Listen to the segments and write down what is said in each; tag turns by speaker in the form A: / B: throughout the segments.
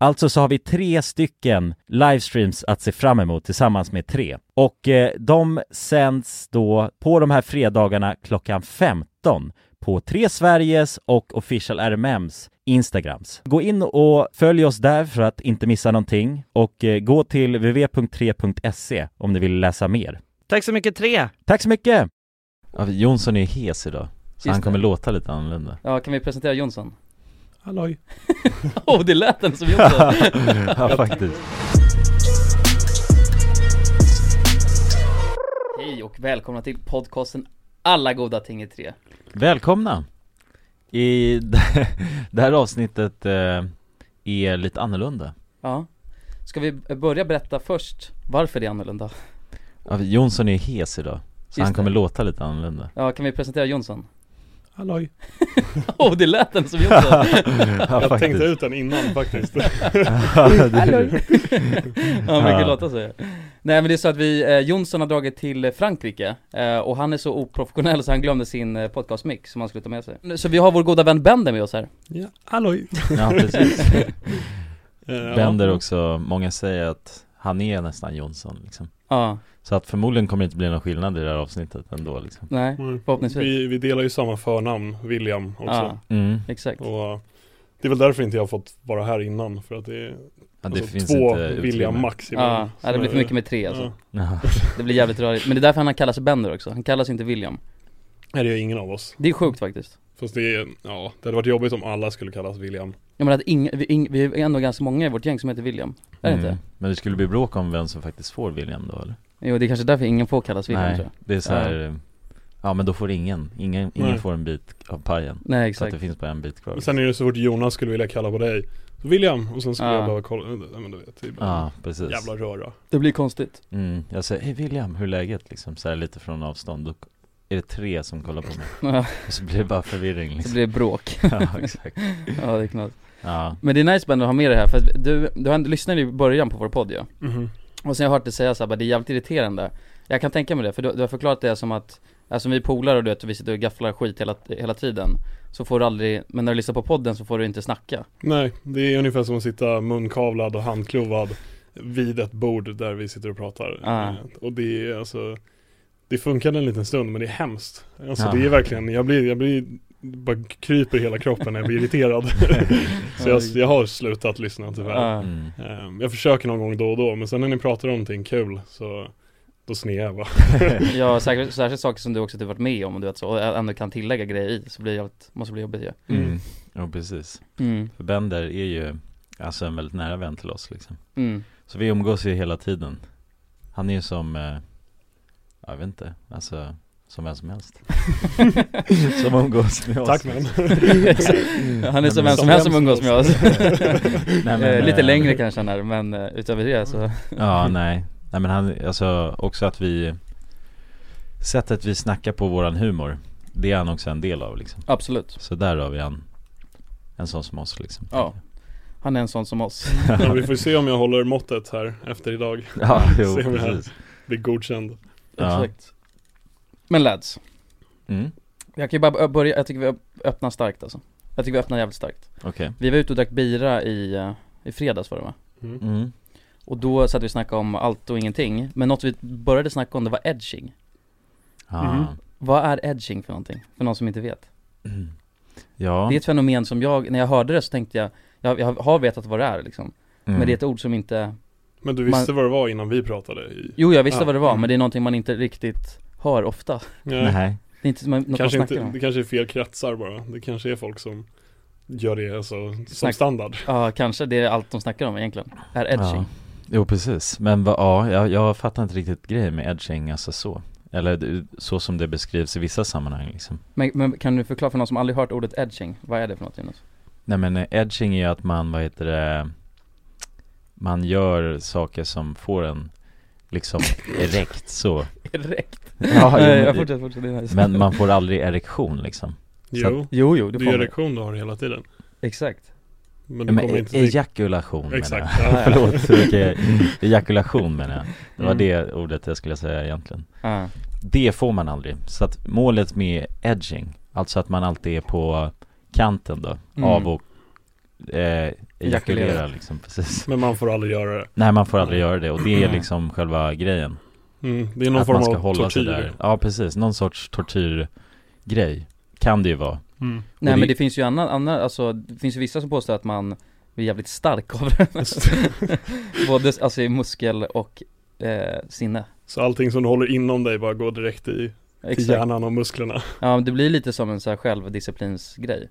A: Alltså så har vi tre stycken livestreams att se fram emot tillsammans med tre. Och eh, de sänds då på de här fredagarna klockan 15 på Tre Sveriges och Official RMMs Instagrams. Gå in och följ oss där för att inte missa någonting och eh, gå till www.3.se om ni vill läsa mer.
B: Tack så mycket tre!
A: Tack så mycket!
C: Ja, Jonsson är hes idag, så
D: Just
C: han kommer
D: det.
C: låta lite annorlunda
D: Ja, kan vi presentera Jonsson?
C: Halloj
D: Åh, det lät den som Jonsson!
C: Ja faktiskt
D: Hej och välkomna till podcasten Alla goda ting i tre
C: Välkomna! I det här avsnittet eh, är lite annorlunda
D: Ja Ska vi börja berätta först varför det är annorlunda?
C: ja, Jonsson är hes idag, så
D: Just
C: han
D: det.
C: kommer låta lite annorlunda
D: Ja, kan vi presentera Jonsson?
E: Halloj
D: Åh, det lät den som Jonsson!
C: Ja,
E: Jag tänkte
C: faktiskt.
E: ut den innan faktiskt
D: Ja, men
C: Ja.
D: gud låta så Nej men det är så att vi, eh, Jonsson har dragit till Frankrike eh, och han är så oprofessionell så han glömde sin eh, podcastmick som han skulle ta med sig Så vi har vår goda vän Bender med oss här
E: ja, Halloj
C: Ja precis
E: Eh, ja.
C: Bender också, många säger att han är nästan Jonsson liksom
D: Ja,
C: Så att förmodligen kommer det inte bli någon skillnad i det här avsnittet ändå liksom
D: nej,
E: Mm.
D: förhoppningsvis
E: vi, vi delar ju samma förnamn, William också
D: Ja,
C: mm.
D: exakt
E: Och Det är väl därför inte jag har fått vara här innan, för att det är
C: Ja, det
E: alltså,
C: finns
E: två
C: inte
E: vilja
C: utrymme. Mm.
E: max
D: Ja, ja, det blir för mycket med tre alltså.
E: Ja.
C: Jaha.
D: Det blir jävligt rörigt. Men det är därför han kallas Bender också. Han kallas inte William.
E: Nej det gör ingen av oss.
D: Det är sjukt faktiskt.
E: Fast det är, ja, det hade varit jobbigt om alla skulle kallas William.
D: Jag menar att ing, vi, ing, vi är ändå ganska många i vårt gäng som heter William. Är det inte?
C: Men det skulle bli bråk om vem som faktiskt får William då eller?
D: Jo, det är kanske därför ingen får kallas William
C: Nej,
D: tror jag.
C: det är så här. eh, Ja men då får ingen, ingen, ingen
E: Nej.
C: får en bit av pajen
D: Nej,
C: Så att
D: exakt.
C: det finns bara en bit kvar
E: Men sen är det så fort Jonas skulle vilja kalla på dig, så William, och sen skulle
D: Ja.
E: jag behöva kolla, nej men du vet, det är bara
C: Ja precis
E: jävla röra.
D: Det blir konstigt.
C: mm. Jag säger, hej William, hur är läget? Liksom så här lite från avstånd, då är det tre som kollar på mig
D: Ja,
C: Och så blir det bara förvirring
D: det
C: liksom
D: blir bråk.
C: Ja exakt
D: ja, det är knas.
C: Ja,
D: Men det är nice Bender att ha med det här för att du, du har- lyssnade ju i början på vår podd ju.
E: Mhm.
D: Och sen har jag hört dig säga såhär, det är jävligt irriterande Jag kan tänka mig det, för du, du har förklarat det som att Alltså vi är polare och du vet, vi sitter och gafflar skit hela, hela tiden Så får du aldrig, men när du lyssnar på podden så får du inte snacka
E: Nej, det är ungefär som att sitta munkavlad och handklovad vid ett bord där vi sitter och pratar.
D: Ja.
C: Ah.
E: Eh, Och det är alltså, det funkade en liten stund men det är hemskt. Alltså
C: Ja.
E: det är verkligen, jag blir, jag blir, bara kryper hela kroppen när jag blir irriterad. så jag, jag har slutat lyssna tyvärr.
D: Ja.
C: mm.
E: Ehm, Jag försöker någon gång då och då, men sen när ni pratar om någonting kul så då snear jag bara. Mm.
D: Ja, särskilt, särskilt saker som du också typ varit med om och du vet så, och ändå kan tillägga grejer i så blir det jävligt, måste bli jobbigt ju
C: Mm. Ja precis
D: Mm,
C: För Bender är ju, alltså en väldigt nära vän till oss liksom
D: mm,
C: Så vi umgås ju hela tiden Han är ju som, eh, jag vet inte, alltså som vem som helst Som umgås med oss
E: Tack men.
D: Han är som vem
C: Mm. men-
D: som helst som umgås med oss
C: Nej, men, Mm.
D: Eh, Lite
C: eh,
D: längre kanske han är, men eh, utöver det så
C: Ja, nej. Nej men han, alltså också att vi Sättet vi snackar på våran humor Det är han också en del av liksom
D: Absolut
C: Så där har vi han En sån som oss liksom
D: Ja. Han är en sån som oss
E: Ja, vi får se om jag håller måttet här efter idag.
C: Ja, Ah, jo
E: Ser vi här.
C: precis
E: Blir godkänd.
C: Ja.
D: Exakt Men lads
C: mm.
D: Jag kan ju bara börja, jag tycker vi öppnar starkt alltså Jag tycker vi öppnar jävligt starkt
C: Okej
D: Vi var ute och drack bira i, eh, i fredags var det va?
E: Mm.
C: mm.
D: Och då satt vi och snackade om allt och ingenting Men något vi började snacka om det var edging
E: Mhm.
C: Ja.
D: Vad är edging för någonting? För någon som inte vet
C: Ja,
D: Det är ett fenomen som jag, när jag hörde det så tänkte jag Jag, jag har vetat vad det är liksom
C: mm.
D: Men det är ett ord som inte
E: Men du visste vad det var innan vi pratade? I...
D: Jo jag visste
E: Ja.
D: vad det var
E: Mm.
D: men det är någonting man inte riktigt hör ofta
E: Nej.
C: Nej,
D: Det är inte som- något
E: Kanske
D: man
E: inte,
D: snackar
E: det
D: om
E: kanske är fel kretsar bara. Det kanske är folk som gör det alltså, som
D: Snack-
E: standard.
D: Ja kanske, det är allt de snackar om egentligen Är edging
C: Ja. Jo precis, men vad- ja, jag, jag fattar inte riktigt grejen med edging, alltså så Eller det- så som det beskrivs i vissa sammanhang liksom
D: men, men kan du förklara för någon som aldrig hört ordet edging? Vad är det för något Jonas?
C: Nej men eh, edging är ju att man, vad heter det Man gör saker som får en liksom erekt så
D: Direkt
C: ja,
D: Nej,
C: jo,
D: jag
C: men-
D: fortsätter, fortsätter, det är nice.
C: Men man får aldrig erektion liksom
E: Jo,
D: Jo, jo, det
E: du
D: får
E: gör
D: man.
E: erektion du har hela tiden.
D: Exakt
E: Men du
C: Men
E: kommer
C: e-
E: inte till...
C: ejakulation
E: Exakt.
C: menar jag
E: Ja.
C: Förlåt, okej. ejakulation menar jag Det var
D: Mm.
C: det ordet jag skulle säga egentligen
D: Ja,
C: Det får man aldrig, så att målet med edging Alltså att man alltid är på kanten då,
D: Mm.
C: av och eh, ejakulera
D: Ejakulera.
C: liksom, precis
E: Men man får aldrig göra det.
C: Nej man får aldrig göra det och det är
D: Nej.
C: liksom själva grejen
E: Mm. Det är någon
C: att
E: form
C: man ska
E: av
C: hålla sig
E: tortyr.
C: där. Ja precis, någon sorts tortyrgrej Kan det ju vara
E: Mm.
D: Nej
C: det-
D: men det finns ju annan, annan, alltså det finns ju vissa som påstår att man blir jävligt stark av det Både alltså i muskel och eh, sinne
E: Så allting som du håller inom dig bara går direkt i till
D: Exakt
E: hjärnan och musklerna.
D: Ja men det blir lite som en så här självdisciplinsgrej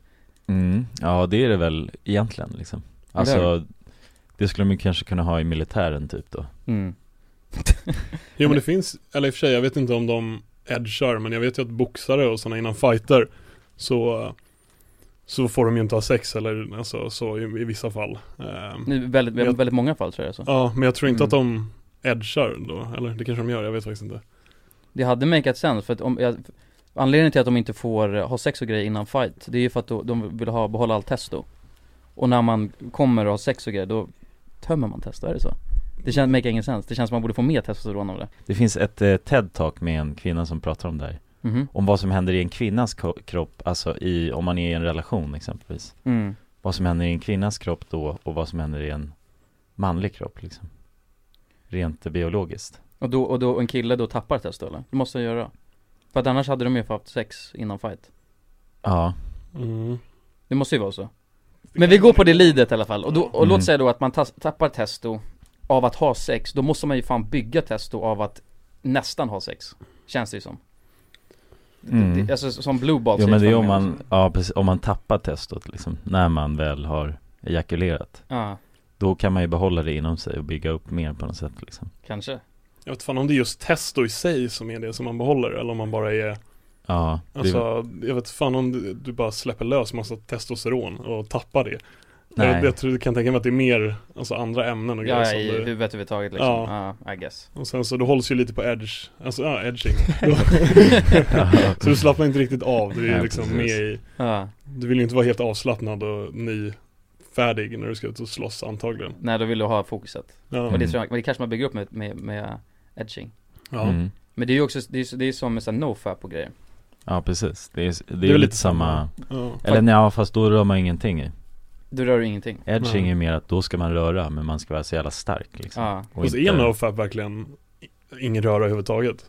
C: mm. Ja det är det väl egentligen liksom
D: Eller
C: Alltså det skulle man ju kanske kunna ha i militären typ då
D: mm.
E: Jo men det finns, eller i och för sig jag vet inte om de edgar men jag vet ju att boxare och sådana innan fighter så, så får de ju inte ha sex eller alltså, så i, i vissa fall. Ehm,
D: Nu, väldigt,
E: Jag-
D: väldigt många fall tror jag det är så
E: Ja men jag tror inte
D: Mm.
E: att de edgar då, eller det kanske de gör, jag vet faktiskt inte.
D: Det hade makeat sense för att om, jag, anledningen till att de inte får ha sex och grejer innan fight Det är ju för att då, de vill ha, behålla all testo Och när man kommer och har sex och grejer då tömmer man testo, är det så? Det känns, make ingen sens, det känns som man borde få mer testosteron av det
C: Det finns ett eh, TED-talk med en kvinna som pratar om det här
D: Mhm,
C: Om vad som händer i en kvinnas ko- kropp, alltså i, om man är i en relation exempelvis
D: mm.
C: Vad som händer i en kvinnas kropp då och vad som händer i en manlig kropp liksom Rent eh, biologiskt
D: Och då, och då en kille då tappar testo eller? Det måste han göra För att annars hade de ju haft sex innan fight
C: Ja,
E: Mm.
D: Det måste ju vara så Men vi går på det lidet i alla fall, och, då, och
C: Mm.
D: låt säga då att man tas- tappar testo av att ha sex, då måste man ju fan bygga testo av att nästan ha sex, känns det ju som
C: Mm.
D: det, Alltså som blue balls
C: Jo
D: i
C: men det är om
D: förlängningen
C: man, ja precis, om man tappar testot liksom, när man väl har ejakulerat.
D: Ja,
C: Då kan man ju behålla det inom sig och bygga upp mer på något sätt liksom.
D: kanske
E: Jag vet fan om det är just testo i sig som är det som man behåller eller om man bara är
C: Ja, det,
E: Alltså jag vet fan om du, du bara släpper lös massa testosteron och tappar det
C: nej.
E: Jag, jag tror, kan tänka mig att det är mer, alltså andra ämnen och grejer
D: Ja,
E: som
D: i
E: du,
D: huvudet överhuvudtaget liksom, ja,
E: Ja.
D: I guess
E: Och sen så, du hålls ju lite på edge, alltså ja, edging
C: Ja.
E: Så du slappnar inte riktigt av, du är
C: Nej,
E: liksom
C: precis.
E: med i
D: ja.
E: Du vill ju inte vara helt avslappnad och nyfärdig när du ska ut och slåss antagligen
D: Nej då vill du ha fokuset,
E: Ja,
D: och det, tror jag, men det kanske man bygger upp med, med, med edging
E: ja.
C: Mm.
D: Men det är ju också, det är, ju- det är som med sån nofap och grejer
C: ja precis, det är, det är,
E: Det
C: ju
E: väl
C: lite samma,
E: ja.
C: eller nej, ja, fast då rör man ingenting i.
D: Då rör du ingenting
C: Edging
E: Nej.
C: är mer att då ska man röra, men man ska vara så jävla stark liksom.
D: Ja,
C: Och
E: Och så är
C: inte-
E: nofap verkligen i- ingen röra överhuvudtaget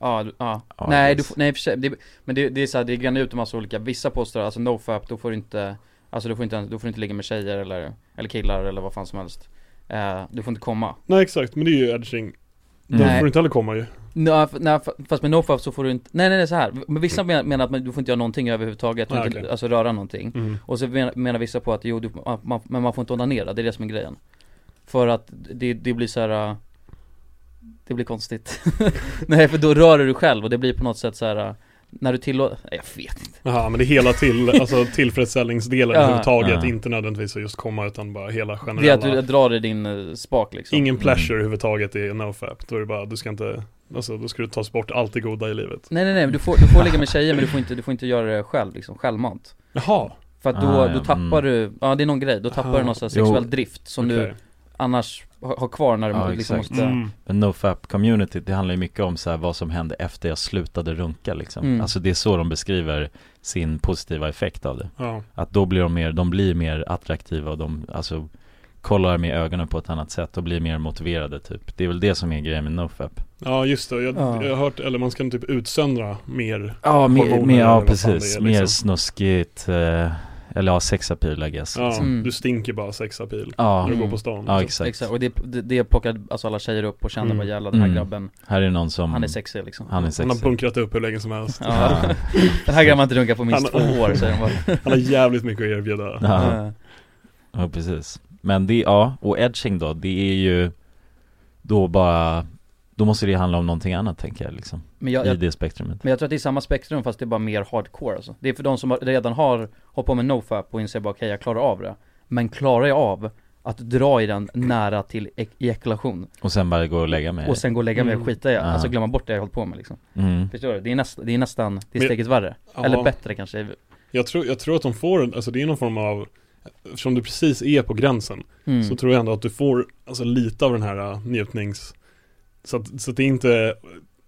D: ja, du- ja
C: Ja,
D: Nej,
C: yes.
D: du får, nej i och för sig, det, men det, det är såhär, det grannar ut en massa olika, vissa påstår alltså nofap, då får du inte Alltså du får inte, ens- då får du inte ligga med tjejer eller, eller killar eller vad fan som helst Eh, Du får inte komma
E: Nej exakt, men det är ju edging Då
C: Nej.
D: Mm.
E: får du inte heller komma ju
D: Nej, f- nej, f- fast med nofap så får du inte, nej nej nej så här. men vissa men- menar att man, du får inte göra någonting överhuvudtaget, du
E: Mm. Ah,
D: inte,
E: okej.
D: alltså röra någonting
E: mm.
D: Och så menar, menar vissa på att jo, du, att man, men man får inte onanera, det är det som är grejen För att det, det blir så här. äh, Det blir konstigt Nej för då rör du dig själv och det blir på något sätt så här. äh, När du tillåter, nej jag vet inte
E: Jaha, men det är hela till, alltså tillfredsställningsdelen
D: Ja.
E: överhuvudtaget
C: Ja.
E: Inte nödvändigtvis att just komma utan bara hela
D: Det är att
E: generella
D: du drar i din äh, spak liksom
E: Ingen pleasure överhuvudtaget i nofap Då är det bara, du ska inte Alltså då ska du ta bort allt det goda i livet
D: Nej nej nej, men du får, du får ligga med tjejer men du får inte, du får inte göra det själv liksom, självmant
E: Jaha,
D: För att då,
C: Ah, ja,
D: då tappar
C: mm.
D: du, ja det är någon grej, då tappar
E: Aha.
D: du någon sån här
C: Jo.
D: sexuell drift som du
E: okej.
D: annars ha- har kvar när du
C: Ja,
D: liksom
C: exakt.
D: måste
E: Mm.
C: Men nofap community, det handlar ju mycket om så här vad som hände efter jag slutade runka liksom.
D: Mm.
C: Alltså det är så de beskriver sin positiva effekt av det.
E: Ja,
C: Att då blir de mer, de blir mer attraktiva och de, alltså kollar med ögonen på ett annat sätt och blir mer motiverade typ. Det är väl det som är grejen med nofap.
E: ja just det, jag,
D: Ja.
E: jag har hört, eller man ska typ utsöndra mer
C: Ja, mer,
E: Hormoner
C: mer,
E: eller vad
C: ja
E: fan
C: precis.
E: det är,
C: Mer
E: liksom.
C: snuskigt, eh, eller ja sexapil I guess.
E: Ja,
D: Mm.
E: du stinker bara sexapil
C: Ja,
E: när du
D: Mm.
E: går på stan
C: ja
E: liksom.
C: exakt.
D: Exakt, och det, det, det plockar alltså alla tjejer upp och känner
E: Mm.
D: bara jävlar den här
C: Mm.
D: grabben,
C: Här är någon som,
D: han är sexig liksom
C: Mm. han är
E: Han har
C: sexig.
E: bunkrat upp hur länge som helst
D: ja. Den här grabben har inte runkat på minst två
E: Han-
D: år säger de bara
E: Han har jävligt mycket att erbjuda
C: Ja.
D: Eh,
C: Ja precis. Men det, ja, och edging då, det är ju då bara, då måste det handla om någonting annat tänker jag liksom,
D: Men jag,
C: i
D: jag,
C: det spektrumet.
D: men jag tror att det är samma spektrum fast det är bara mer hardcore alltså. Det är för de som har- redan har hållit på med nofap och inser bara okej jag klarar av det Men klarar jag av att dra i den nära till ek- ejakulation
C: Och sen bara gå och lägga mig.
D: och sen gå och lägga mig och
E: Mm.
D: skita i,
C: Ah.
D: alltså glömma bort det jag hållit på med liksom
C: mm.
D: Förstår du? Det är, näst, det är nästan, det är
E: Men-
D: steget värre,
E: Ja.
D: eller bättre kanske
E: jag, tror, jag tror att de får, en- alltså det är någon form av Eftersom du precis är på gränsen
D: mm.
E: Så tror jag ändå att du får alltså, lite av den här äh, njutnings så att, så att det är inte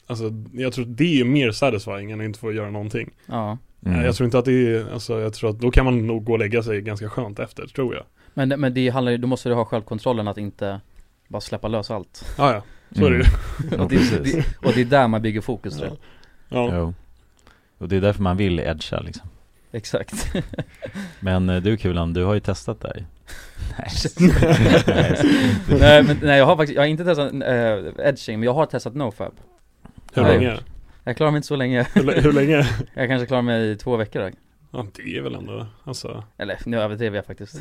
E: Alltså jag tror att det är mer satisfying än att inte få göra någonting
D: Ja
C: Mm.
E: Äh, Jag tror inte att det är, alltså jag tror att då kan man nog gå och lägga sig ganska skönt efter, tror jag
D: Men, men det handlar ju, då måste du ha självkontrollen att inte bara släppa lös allt
E: Ja, ja, så är det ju
C: mm. Ja,
D: och, det,
C: precis.
D: det, och det är där man bygger fokus tror jag
E: Ja,
C: Jo. Och det är därför man vill edga liksom.
D: Exakt
C: Men eh, du Kulan, du har ju testat där. Nej.
D: Nej men nej jag har faktiskt, jag har inte testat eh, edging men jag har testat nofab
E: hur
D: Nej.
E: länge?
D: Jag klarar mig inte så länge,
E: Hur, lä- hur länge?
D: jag kanske klarar mig i två veckor då.
E: Ja, det är väl ändå, alltså
D: Eller nu överdriver jag faktiskt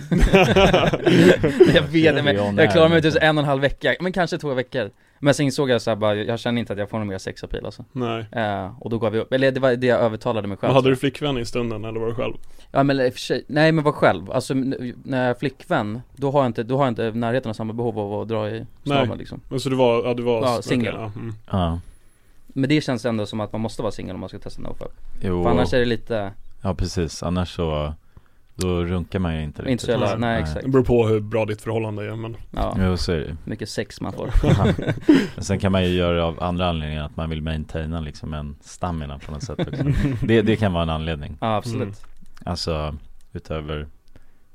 D: Jag vet men jag klarar mig typ en och en halv vecka, men kanske två veckor Men sen insåg jag såhär bara, jag känner inte att jag får någon mer sexapil alltså
E: Nej.
D: Eh, Och då gav vi upp, eller det var det jag övertalade mig själv
E: Men hade
D: till.
E: du flickvän i stunden eller var du själv?
D: Ja men i och för sig, nej men var själv, alltså n- när jag är flickvän, då har jag inte, då har jag inte närheten av samma behov av att dra i snabben liksom
E: Men Så du var, ja du var
D: Ja,
E: okej,
D: singel.
E: ja, mm.
C: Ja.
D: Men det känns ändå som att man måste vara singel om man ska testa nofap
C: Jo.
D: För annars är det lite,
C: Ja precis, annars så, då runkar man ju inte riktigt.
D: inte så jävla,
E: Nej.
D: nej exakt,
E: Det beror på hur bra ditt förhållande är men
D: ja,
C: Jo så är det ju.
D: mycket sex man får
C: Ja. Men sen kan man ju göra det av andra anledningar, att man vill maintaina liksom en stamina på något sätt också. Det, det kan vara en anledning,
D: Ja absolut,
C: alltså utöver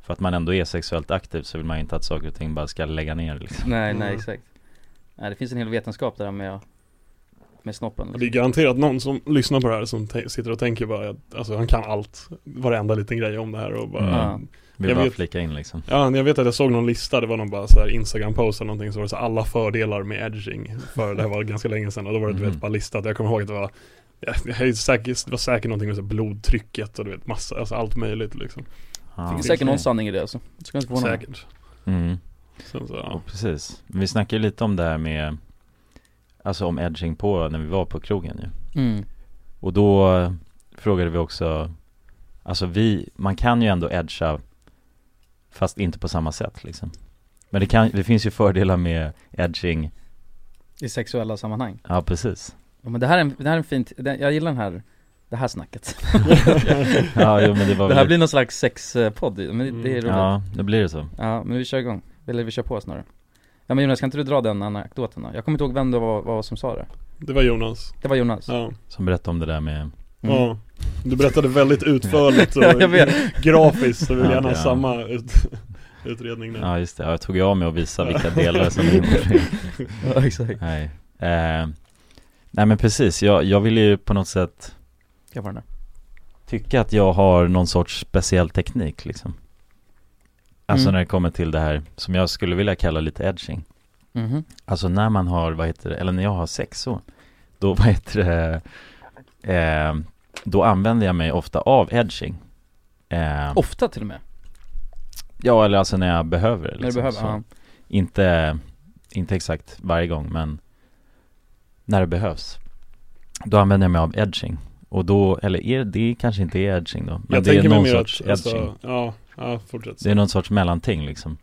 C: för att man ändå är sexuellt aktiv så vill man ju inte att saker och ting bara ska lägga ner liksom.
D: nej nej
E: Mm.
D: exakt Nej det finns en hel vetenskap där med att med snoppen liksom.
E: Det är garanterat någon som lyssnar på det här som te- sitter och tänker bara att alltså, han kan allt, varenda liten grej om det här och bara
D: Ja.
C: Vill
E: Jag
C: bara
E: vet-
C: flika in liksom
E: Ja, jag vet att jag såg någon lista, det var någon bara så här Instagram-post eller någonting så var det så här, alla fördelar med edging. För det här var ganska länge sedan och då var det du
D: Mm.
C: Mhm.
E: vet bara listat. Jag kommer ihåg att det var ja, det här är säkert, det var säkert någonting med så här blodtrycket och du vet massa, alltså allt möjligt liksom.
C: Ja.
D: Det finns säkert någon sanning i det alltså Det ska inte förvåna mig.
E: Säkert.
C: mm.
E: Sen så,
C: Ja
E: ja.
C: precis, vi snackade ju lite om det här med Alltså om edging på när vi var på krogen ju
D: mm.
C: Och då eh, frågade vi också Alltså vi, man kan ju ändå edga Fast inte på samma sätt liksom Men det, kan, det finns ju fördelar med edging
D: I sexuella sammanhang
C: Ja precis
D: ja, men det här är en, det här är en fint, det, jag gillar den här det här snacket
C: Ja jo, men
D: Det
C: det var väl- Mm.
D: här blir någon slags sexpodd, ju, men det, det är roligt ja.
C: Ja, då blir det så
D: men vi kör igång, eller vi kör på snarare Ja men Jonas, kan inte du dra den anekdoten då? Jag kommer inte ihåg vem det var, var som sa det
E: Det var Jonas.
D: Det var Jonas
E: Ja.
C: Som berättade om det där med
D: Mm.
E: ja. Du berättade väldigt utförligt och
D: Ja, jag vet.
E: grafiskt så vi vill
C: Ja,
E: gärna ha
C: ja.
E: samma ut, utredning nu.
C: Ja just det, ja, jag tog ju av mig och visade vilka delar som är inblandade.
D: Ja, exakt
C: Nej eh, Nej men precis, jag, jag vill ju på något sätt
D: Jag var den där
C: tycka att jag har någon sorts speciell teknik liksom Alltså
D: Mm.
C: när det kommer till det här som jag skulle vilja kalla lite edging
D: Mhm,
C: Alltså när man har, vad heter det, eller när jag har sex så Då, vad heter det, eh, då använder jag mig ofta av edging eh,
D: Ofta till och med,
C: Ja eller alltså när jag behöver det
D: när
A: Liksom
D: du behöver,
C: så.
D: ja.
C: Inte, inte exakt varje gång men när det behövs Då använder jag mig av edging Och då, eller är det kanske inte är edging då Men
E: jag
C: det är
E: tänker mig
C: någon
E: mer
C: sorts
E: att,
C: edging
E: alltså, ja, ja, fortsätt.
C: Det är någon sorts mellanting liksom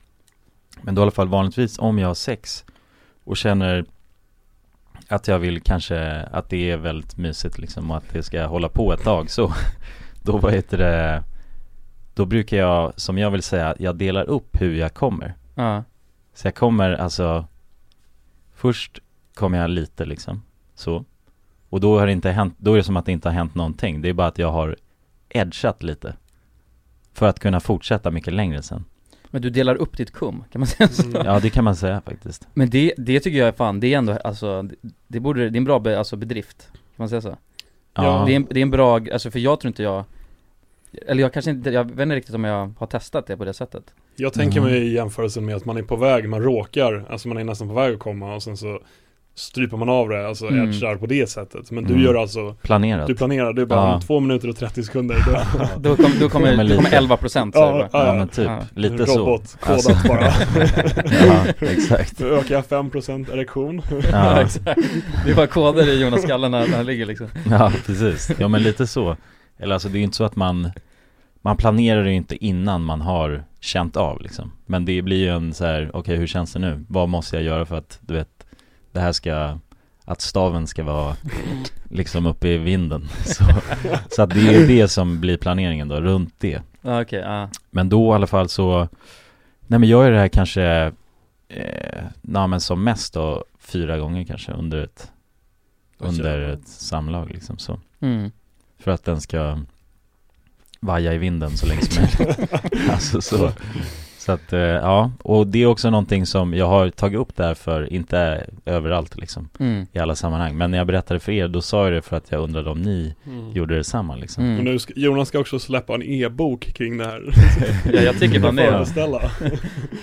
C: Men då i alla fall vanligtvis om jag har sex och känner att jag vill kanske att det är väldigt mysigt liksom och att det ska hålla på ett tag så Då vad heter det Då brukar jag, som jag vill säga, jag delar upp hur jag kommer
D: ja
C: så jag kommer alltså Först kommer jag lite liksom Så Och då har det inte hänt, då är det som att det inte har hänt någonting Det är bara att jag har edgat lite För att kunna fortsätta mycket längre sen
D: Men du delar upp ditt kum, kan man säga så?
E: Mm.
C: Ja det kan man säga faktiskt
D: Men det, det tycker jag är fan, det är ändå, alltså, det, det borde, det är en bra be, alltså bedrift, kan man säga så?
C: Ja,
D: Det, är en, det är en bra, alltså för jag tror inte jag, eller jag kanske inte, jag vet inte riktigt om jag har testat det på det sättet
E: Jag tänker
C: Mm.
E: mig i jämförelsen med att man är på väg, man råkar, alltså man är nästan på väg att komma och sen så stryper man av det, alltså
D: Mm.
E: edgar på det sättet. Men du
C: Mm.
E: gör alltså,
C: planerat
E: du planerar, du är bara
C: Ja.
E: om två minuter och 30 sekunder. Då,
D: Då, kom, då kommer,
C: Ja, men
D: då kommer
C: lite.
D: 11 procent
E: ja,
C: Ja
E: ja,
C: men typ,
D: Ja.
C: lite så Alltså.
E: robot, kodat bara.
C: Ja, exakt
E: Nu ökar jag 5% erektion.
D: Ja,
C: ja,
D: exakt. Det är bara koder i Jonas skallen när när han ligger liksom
C: ja, precis Ja men lite så Eller alltså det är ju inte så att man Man planerar det ju inte innan man har känt av liksom Men det blir ju en så här, okej hur känns det nu? Vad måste jag göra för att, du vet Det här ska Att staven ska vara liksom uppe i vinden Så, så att det är ju det som blir planeringen då, runt det
D: Ja okej, ja
C: Men då i alla fall så Nej men jag gör det här kanske eh, Nej men som mest då fyra gånger kanske under ett Under ett samlag liksom så
D: mm.
C: för att den ska vaja i vinden så länge som möjligt. alltså så. Så att, eh, ja. Och det är också någonting som jag har tagit upp därför, inte överallt liksom,
D: Mm.
C: i alla sammanhang. Men när jag berättade för er, då sa jag det för att jag undrade om ni
E: Mm.
C: gjorde detsamma liksom.
E: Men
D: Mm.
E: nu ska, Jonas ska också släppa en e-bok kring det här.
D: Ja, jag tycker fan det
C: Ja.
E: Förbeställa.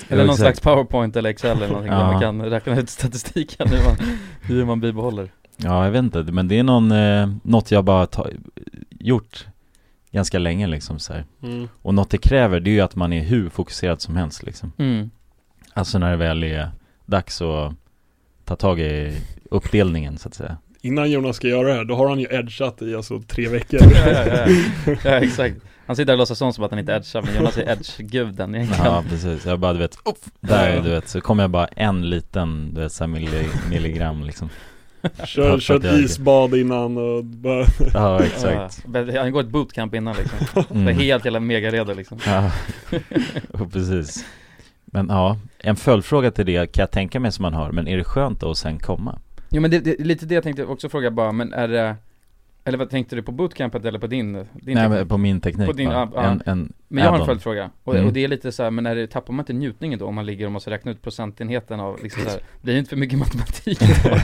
D: Eller någon
C: exakt.
D: slags powerpoint eller excel eller någonting där
C: Ja.
D: man kan räkna ut statistiken hur man, hur man bibehåller
C: Ja, jag vet inte. Men det är någon, eh, något jag bara ta, gjort ganska länge liksom så här.
E: Mm.
C: Och något det kräver, det är ju att man är hur fokuserad som helst liksom.
D: mm.
C: Alltså när det väl är dags att ta tag i uppdelningen så att säga.
E: Innan Jonas ska göra det här, då har han ju edgat i alltså tre veckor.
D: ja, ja, ja, ja. ja exakt Han sitter och låtsas som som att han inte edgar men Jonas är edge-guden egentligen
C: Ja precis, jag bara du vet, upp, där
E: Ja.
C: du vet, så kommer jag bara en liten, du vet såhär milli, milligram liksom
E: Kör, kör ett isbad innan och bara,
C: Ja exakt,
D: Ja, men Han går ett bootcamp innan liksom,
C: Mm.
D: mm. helt jävla megaredo liksom
C: ja, och precis Men ja, en följdfråga till det kan jag tänka mig som man har, men är det skönt då att sen komma?
D: Jo men det, det, lite det jag tänkte också fråga bara, men är det Eller vad tänkte du på bootcampet eller på din? din
C: Nej
D: teknik?
C: men på min teknik
D: På din
C: va?
D: app, ja.
C: en, en
D: Men jag har en
C: add-on.
D: följdfråga, och,
C: Mm.
D: och det är lite så här, men är det, tappar man inte njutningen då om man ligger och måste räkna ut procentenheten av liksom så här, blir det inte för mycket matematik då?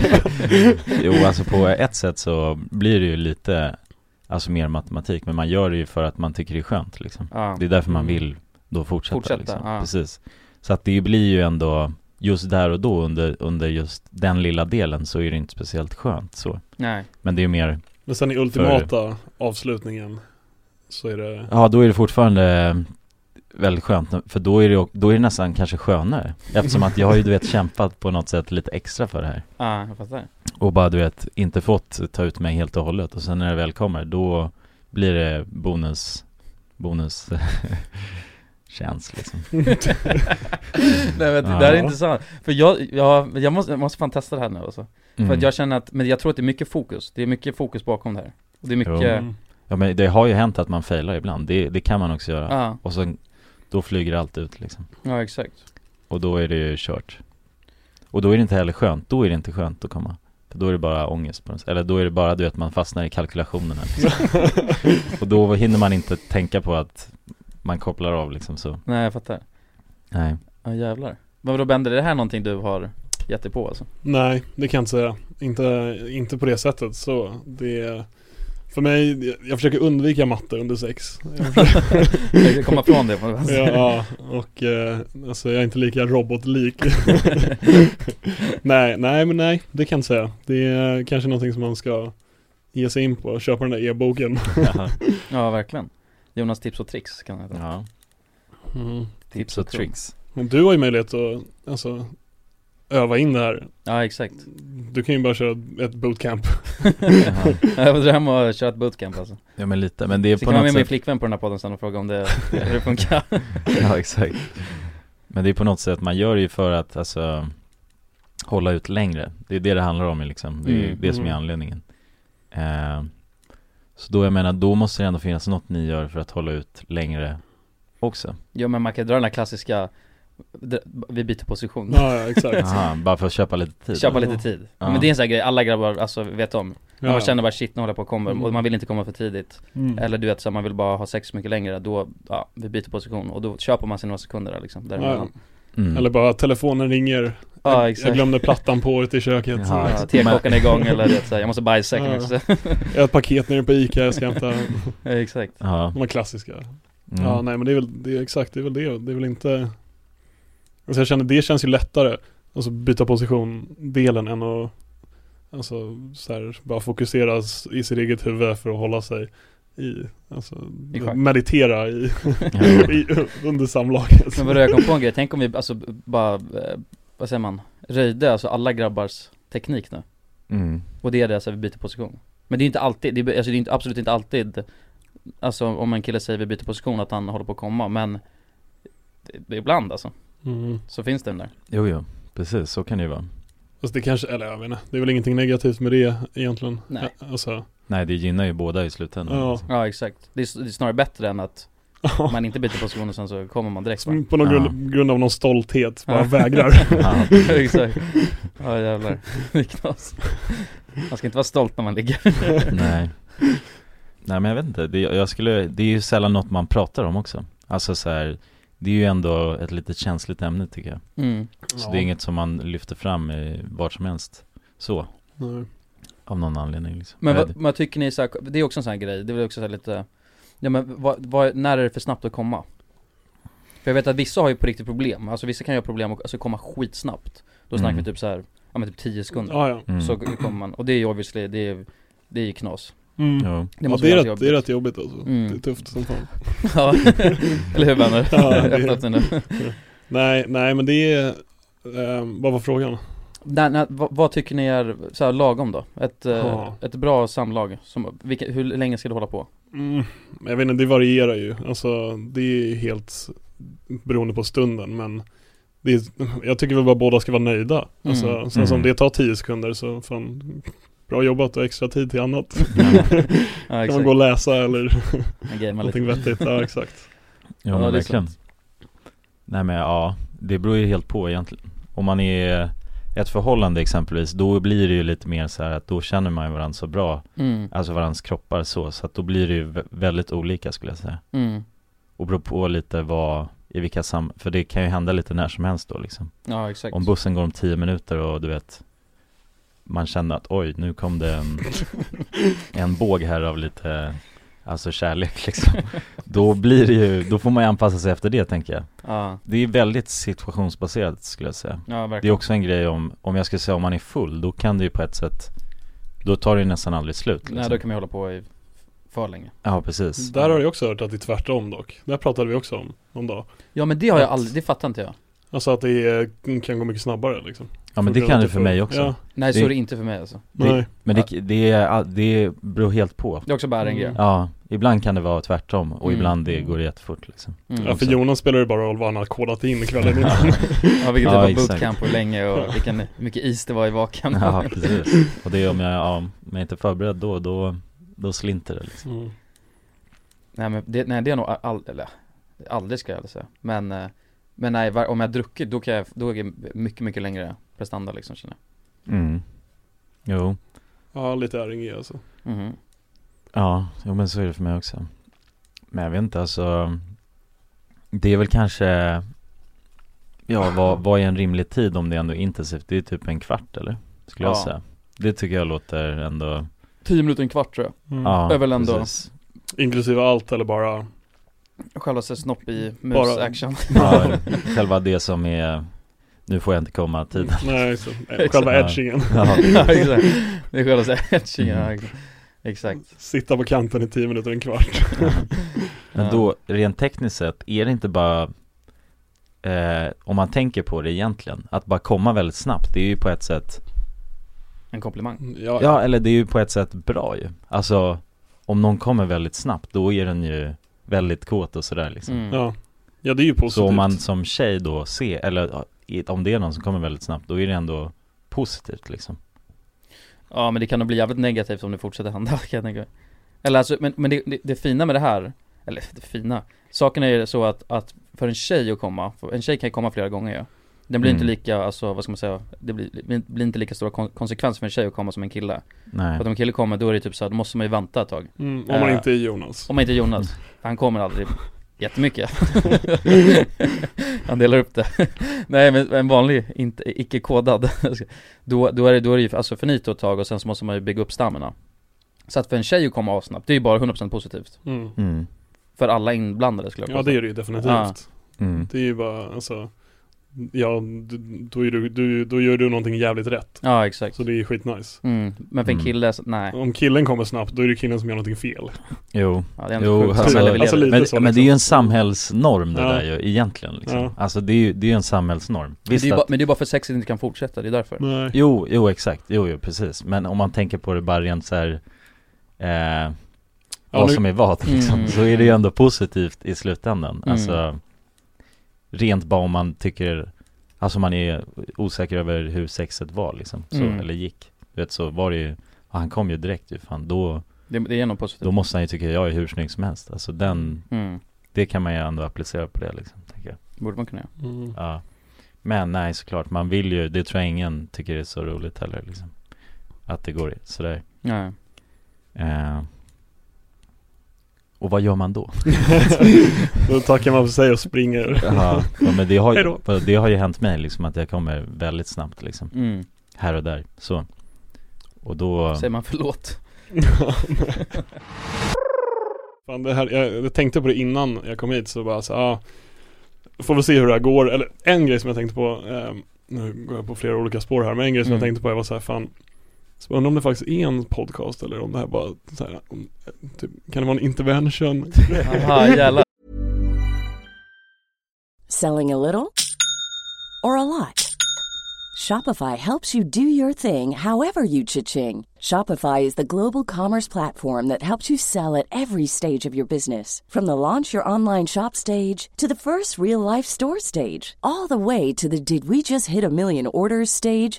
C: Jo alltså på ett sätt så blir det ju lite Alltså mer matematik men man gör det ju för att man tycker det är skönt liksom
D: ja.
C: Det är därför man
D: Mm.
C: vill då fortsätta,
D: Fortsätta,
C: liksom.
D: ja.
C: Precis Så att det blir ju ändå Just där och då under, under just den lilla delen så är det inte speciellt skönt så
D: Nej,
C: Men det är ju mer
E: Men sen i ultimata avslutningen så är det
C: Ja då är det fortfarande väldigt skönt För då är det, ju- då är det nästan kanske skönare Eftersom att jag har ju du vet kämpat på något sätt lite extra för det här
D: ja, jag fattar
C: och bara du vet, inte fått ta ut mig helt och hållet och sen när det väl kommer då blir det bonus, bonus känns liksom
D: Nej men det
C: Ja.
D: där är intressant, för jag, jag, jag, måste, jag måste fan testa det här nu alltså
C: mm.
D: För att jag känner att, men jag tror att det är mycket fokus, det är mycket fokus bakom det här Och det är mycket,
E: mm.
C: Ja men det har ju hänt att man failar ibland, det, det kan man också göra
D: ja,
C: och sen då flyger allt ut liksom
D: ja exakt
C: och då är det ju kört och då är det inte heller skönt, då är det inte skönt att komma för då är det bara ångest på något sätt. eller då är det bara du vet man fastnar i kalkylationerna liksom. och då hinner man inte tänka på att man kopplar av liksom så,
D: Nej jag fattar,
C: nej
D: ja jävlar Men vadå Bender, är det här någonting du har gett dig på alltså?
E: Nej, det kan jag inte säga. Inte, inte på det sättet så. Det är, för mig, jag försöker undvika matte under sex. Jag försöker-
D: Jag kan komma från det på något sätt.
E: ja, och eh, alltså jag är inte lika robotlik. nej, nej men nej, det kan jag inte säga. Det är kanske någonting som man ska ge sig in på, köpa den där e-boken.
D: Ja verkligen Jonas tips och tricks kan jag heta
C: ja.
E: Mm.
C: Tips och tricks
E: Men du har ju möjlighet att alltså, öva in det här.
D: Ja exakt
E: Du kan ju bara köra ett bootcamp.
C: Jaha.
D: Jag får drömma om att köra ett bootcamp alltså
C: Ja men lite, men det är
D: Så
C: på
D: kan jag ha
C: något
D: med min
C: sätt
D: flickvän på den här podden sen och fråga om det, hur det funkar
C: Ja exakt Men det är på något sätt, man gör det ju för att alltså Hålla ut längre, det är det det handlar om ju, liksom Det är
D: Mm.
C: det som är
E: Mm.
C: anledningen eh, Så då jag menar, då måste det ändå finnas något ni gör för att hålla ut längre också
D: Ja men man kan dra den här klassiska, dra- vi byter position
E: Ja, ja exakt.
C: Jaha, bara för att köpa lite tid
D: Köpa
C: eller?
D: lite tid
C: Ja.
D: Men det är en sån här grej alla grabbar alltså vet om När
E: Ja.
D: man känner bara shit nu håller jag på och kommer
E: Mm.
D: och man vill inte komma för tidigt
E: Mm.
D: Eller du vet så här, man vill bara ha sex mycket längre Då, ja, vi byter position och då köper man sig några sekunder där liksom
E: Ja,
D: däremellan
C: mm.
E: eller bara telefonen ringer
D: Ja,
E: jag,
D: exakt
E: jag glömde plattan på året i köket
C: Ja,
D: ja, Teklockan är igång eller du vet så här, jag måste bajsa jag kan
E: Ja.
D: också
E: Jag har ett paket nere på Ica, jag ska hämta
D: Ja, Exakt
C: Ja,
E: de här klassiska
C: mm.
E: Ja nej men det är väl, det är exakt, det är väl det, det är väl inte Alltså jag känner, det känns ju lättare Alltså byta position delen än att Alltså så här, bara fokusera s- i sitt eget huvud för att hålla sig i, alltså
D: I schack.
E: meditera i,
C: Ja.
E: i under samlaget
D: Men vadå jag kom på en grej, tänk om vi alltså b- bara, eh, vad säger man, röjde alltså alla grabbars teknik nu
C: Mm.
D: Och det är det alltså, vi byter position Men det är inte alltid, det är, alltså, det är inte, absolut inte alltid Alltså om en kille säger vi byter position att han håller på att komma men det- Ibland alltså,
E: mm.
D: så finns den där
C: Jo, jo, precis, så kan det ju vara
E: Alltså det kanske, eller jag vet inte, det är väl ingenting negativt med det egentligen
D: Nej.
E: Alltså,
C: Nej det gynnar ju båda i slutändan
E: Ja.
C: alltså.
D: Ja exakt, Oh. det är, s- det är snarare bättre än att man inte byter position och sen så kommer man direkt va?
E: Som på någon
C: Ja.
E: grund, grund av någon stolthet bara
D: Ja.
E: vägrar
C: Ja.
D: exakt Ja jävlar, det är knas Man ska inte vara stolt när man ligger
C: Nej Nej men jag vet inte, det, jag skulle, det är ju sällan något man pratar om också Alltså så här, det är ju ändå ett lite känsligt ämne tycker jag
D: mm.
C: Så det är inget som man lyfter fram i vart som helst Så,
E: Nej.
C: av någon anledning liksom
D: Men
C: Jag
D: vad,
C: vet-
D: vad tycker ni så här, det är också en sån här grej, det är väl också så här lite Ja men vad, vad, när är det för snabbt att komma? För jag vet att vissa har ju på riktigt problem, alltså vissa kan ju ha problem att alltså, komma skitsnabbt Då snackar
C: Mm.
D: vi typ så här, ja men typ 10 sekunder
E: Ja, ja.
C: mm.
D: Så kommer man, och det är ju obviously, det är, det är ju knas
E: Mm.
C: jo.
E: Det, ja,
D: måste
E: det, är
D: vara
E: rätt,
D: ganska
E: det är rätt jobbigt alltså.
D: Mm.
E: Det är tufft som fan.
D: jobbigt. Ja, eller hur vänner?
E: Ja, det-
D: Öppna upp den nu.
E: Nej, nej men det är, ehm, vad var frågan?
D: Där, när, vad, vad tycker ni är så här lagom då? Ett, eh,
E: Ja.
D: ett bra samlag, som, vilka, hur länge ska det hålla på?
E: Mm. Jag vet inte, det varierar ju. Alltså det är ju helt beroende på stunden men det är, jag tycker väl bara båda ska vara nöjda. Alltså,
D: Mm.
E: Sen som
C: Mm.
E: det tar tio sekunder så fan, bra jobbat och extra tid till annat.
D: Mm. Ja
E: kan man gå och läsa eller
D: Man gamear lite.
E: någonting vettigt. Ja exakt.
C: Jo,
D: Ja,
C: men
D: det är
C: verkligen Nej men ja, det beror ju helt på egentligen Om man är ett förhållande exempelvis, då blir det ju lite mer så här att då känner man ju varandra så bra,
D: Mm,
C: alltså varandras kroppar så, så att då blir det ju vä- väldigt olika skulle jag säga.
D: mm.
C: Och beror på lite vad, i vilka sam, för det kan ju hända lite när som helst då liksom.
D: Ja exakt
C: Om bussen går om tio minuter och du vet Man känner att oj, nu kom det en, en båg här av lite Alltså kärlek liksom Då blir det ju, då får man ju anpassa sig efter det tänker jag
D: Ja,
C: Det är väldigt situationsbaserat skulle jag säga
D: ja
C: Det är
D: verkligen
C: också en grej om, om jag ska säga om man är full, då kan det ju på ett sätt Då tar det ju nästan aldrig slut liksom.
D: Nej då kan vi hålla på i för länge
C: Ja
D: Mm.
C: precis
E: Där har jag också hört att det är tvärtom dock. Det här pratade vi också om någon dag.
D: Ja men det har jag
E: Att-
D: aldrig, det fattar inte jag
E: Alltså att det är, kan gå mycket snabbare liksom.
C: Ja men det kan det för mig också
E: Ja,
D: Nej
C: Det-
D: så är det inte för mig alltså
C: Det-
E: nej.
C: Men det, det, är, det beror helt på
D: Det är också bara en grej
E: Mm.
C: Ja, ibland kan det vara tvärtom och
D: Mm.
C: ibland det går det jättefort liksom
D: mm.
E: Ja, för Jonas spelar ju bara roll vad han har kodat in kvällen innan.
D: Ja vilket
C: Ja,
D: det var
C: exakt.
D: bootcamp och länge och vilken, hur mycket is det var i vakan
C: Ja precis, och det är om jag, ja, om jag inte är förberedd då, då, då slinter det liksom.
E: Mm.
D: Nej men det, nej, det är nog all, eller, aldrig ska jag aldrig säga Men, eh, men nej, var, om jag har druckit då kan jag, då är det mycket, mycket längre prestanda liksom känner
C: mm. Jo,
E: Ja, lite RNG alltså.
D: jag Mhm.
C: ja, jo men så är det för mig också Men jag vet inte alltså Det är väl kanske Ja vad, vad är en rimlig tid om det ändå är intensivt? Det är typ en kvart eller? Skulle jag
D: Ja.
C: säga Det tycker jag låter ändå,
D: Tio minuter, en kvart tror jag
C: ja
D: Det är väl ändå-
C: precis.
E: Inklusive allt eller bara
D: Självaste snopp i
E: Bara-
D: mus-action
C: Ja, själva det som är Nu får jag inte komma tiden
E: Mm, Nej, så, själva
C: Ja.
E: edgingen.
C: ja, Mm.
D: Ja exakt, det är självaste edgingen, ja, exakt. exakt
E: Sitta på kanten i tio minuter, en kvart.
C: Men
D: Ja.
C: då, rent tekniskt sett, är det inte bara eh, Om man tänker på det egentligen, att bara komma väldigt snabbt, det är ju på ett sätt
D: En komplimang
E: Ja,
C: Ja, eller det är ju på ett sätt bra ju Alltså, om någon kommer väldigt snabbt, då är den ju väldigt kåt och sådär liksom
D: mm.
E: ja. ja det är ju positivt.
C: Så om man som tjej då ser, eller ja, i- om det är någon som kommer väldigt snabbt, då är det ändå positivt liksom
D: Ja men det kan nog bli jävligt negativt om det fortsätter hända kan jag tänka mig. Eller alltså, men, men det, det, det fina med det här, eller det fina, saken är ju så att, att för en tjej att komma, för en tjej kan ju komma flera gånger ju. Den blir
C: Mm.
D: inte lika, alltså vad ska man säga, det blir, det blir inte lika stora kon- konsekvenser för en tjej att komma som en kille.
C: Nej
D: För att om en kille kommer då är det typ så här, då måste man ju vänta ett tag.
E: Mm, om man
D: Eh,
E: inte är Jonas.
D: Om man inte är Jonas, för han kommer aldrig jättemycket Han delar upp det Nej men en vanlig, inte, icke-kodad då, då är det, då är det ju alltså finito ett tag och sen så måste man ju bygga upp stammarna Så att för en tjej att komma avsnabbt, det är ju bara 100% positivt
E: Mm.
C: mm.
D: För alla inblandade skulle jag
E: Ja,
D: påstå
E: det är det ju definitivt.
D: Ja.
C: Mm.
E: Det är ju bara, alltså, ja, d- då, är du, du, då gör du någonting jävligt rätt.
D: Ja exakt
E: Så det är ju skitnice.
D: mm. Men för en
C: Mm.
D: kille, så, nej,
E: Om killen kommer snabbt, då är det killen som gör någonting fel.
C: Jo,
D: ja, det är ändå
C: jo
D: sjukt
E: alltså-
D: samhälle vi
E: alltså
D: lever i.
E: lite
C: men,
E: så,
C: men det är ju
E: liksom.
C: en samhällsnorm det
E: Ja.
C: där ju egentligen liksom.
E: Ja.
C: Alltså det är ju det är ju en samhällsnorm
D: Men det är ju
C: att-
D: bara, men det är bara för att sexet inte kan fortsätta, det är därför
E: Nej.
C: Jo, jo exakt, jo, jo precis. Men om man tänker på det bara rent så här, eh,
E: Ja,
C: vad
E: nu-
C: som är vad liksom,
D: Mm.
C: så är det ju ändå positivt i slutändan.
D: Mm.
C: Alltså, rent bara om man tycker, alltså man är osäker över hur sexet var liksom, så,
D: Mm.
C: eller gick. Du vet så var det ju, och han kom ju direkt ju fan, då,
D: Det, det är nog
C: då
D: positivt
C: måste han ju tycka jag är hur snygg som helst. Alltså den,
D: mm.
C: det kan man ju ändå applicera på det liksom, tänker jag.
D: Borde man kunna göra
E: Mm.
C: Ja. Men nej såklart, man vill ju, det tror jag ingen tycker är så roligt heller liksom. Att det går sådär.
D: Nej
C: Eh. Och vad gör man då?
E: Då tackar man för sig och springer.
C: ja, men det har,
E: Hejdå.
C: ju, det har ju hänt mig liksom att jag kommer väldigt snabbt liksom.
D: mm.
C: Här och där, så. Och då,
D: Säger man förlåt?
E: Fan, det här, jag, jag tänkte på det innan jag kom hit så bara så, ah, Får vi se hur det här går, eller en grej som jag tänkte på eh, Nu går jag på flera olika spår här, men en grej som
D: Mm.
E: jag tänkte på jag var så här, fan så jag undrar om det faktiskt är en podcast eller om det här bara så här, om, eh, typ, Kan det vara en intervention?
D: Aha, jävlar
F: Selling a little or a lot? Shopify helps you do your thing however you cha-ching. Shopify is the global commerce platform that helps you sell at every stage of your business. From the launch your online shop stage to the first real life store stage, all the way to the did we just hit a million orders stage.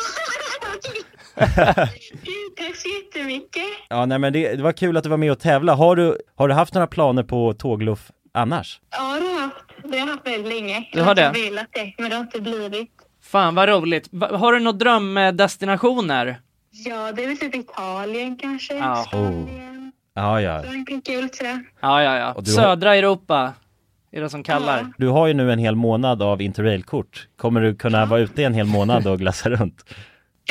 G: Gud, Tack så jättemycket.
A: Ja, nej men det, det var kul att du var med och tävla. Har du, har du haft några planer på tågluff annars?
G: Ja, det har jag haft. Det har jag haft väldigt länge.
B: Du har det?
G: Jag har velat det, men det har inte blivit.
B: Fan vad roligt. Va- har du några drömdestinationer?
G: Ja, det är väl typ Italien kanske.
B: Ja.
G: Spanien.
A: Ja, ja.
G: Frankrike, väl sådär.
B: Ja, ja, ja.
A: Och du har-
B: Södra Europa är det som kallar.
A: Du har ju nu en hel månad av interrailkort. Kommer du kunna vara ute en hel månad och glassa runt?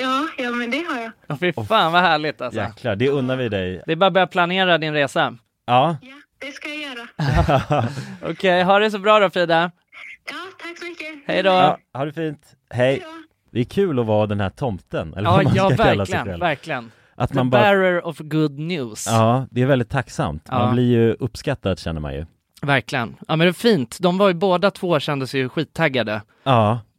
G: Ja, ja, men det har jag.
B: Åh, Fy fan vad härligt alltså.
A: Jäklar, det unnar vi dig.
B: Det är bara att börja planera din resa.
A: Ja,
G: Ja, det ska jag göra.
B: Okej, ha det så bra då Frida.
G: Ja, tack så mycket.
B: Hej då.
A: ja ha det fint. Hej.
G: då.
A: Det är kul att vara den här tomten, eller
B: Ja,
A: vad man
B: ja
A: ska kalla sig
B: verkligen,
A: själv.
B: verkligen.
A: Att
B: The
A: man bara,
B: bearer of good news.
A: ja, det är väldigt tacksamt.
B: Ja.
A: Man blir ju uppskattad känner man ju.
B: Verkligen. Ja men det är fint. De var ju båda två kändes ju skittaggade
A: Ja,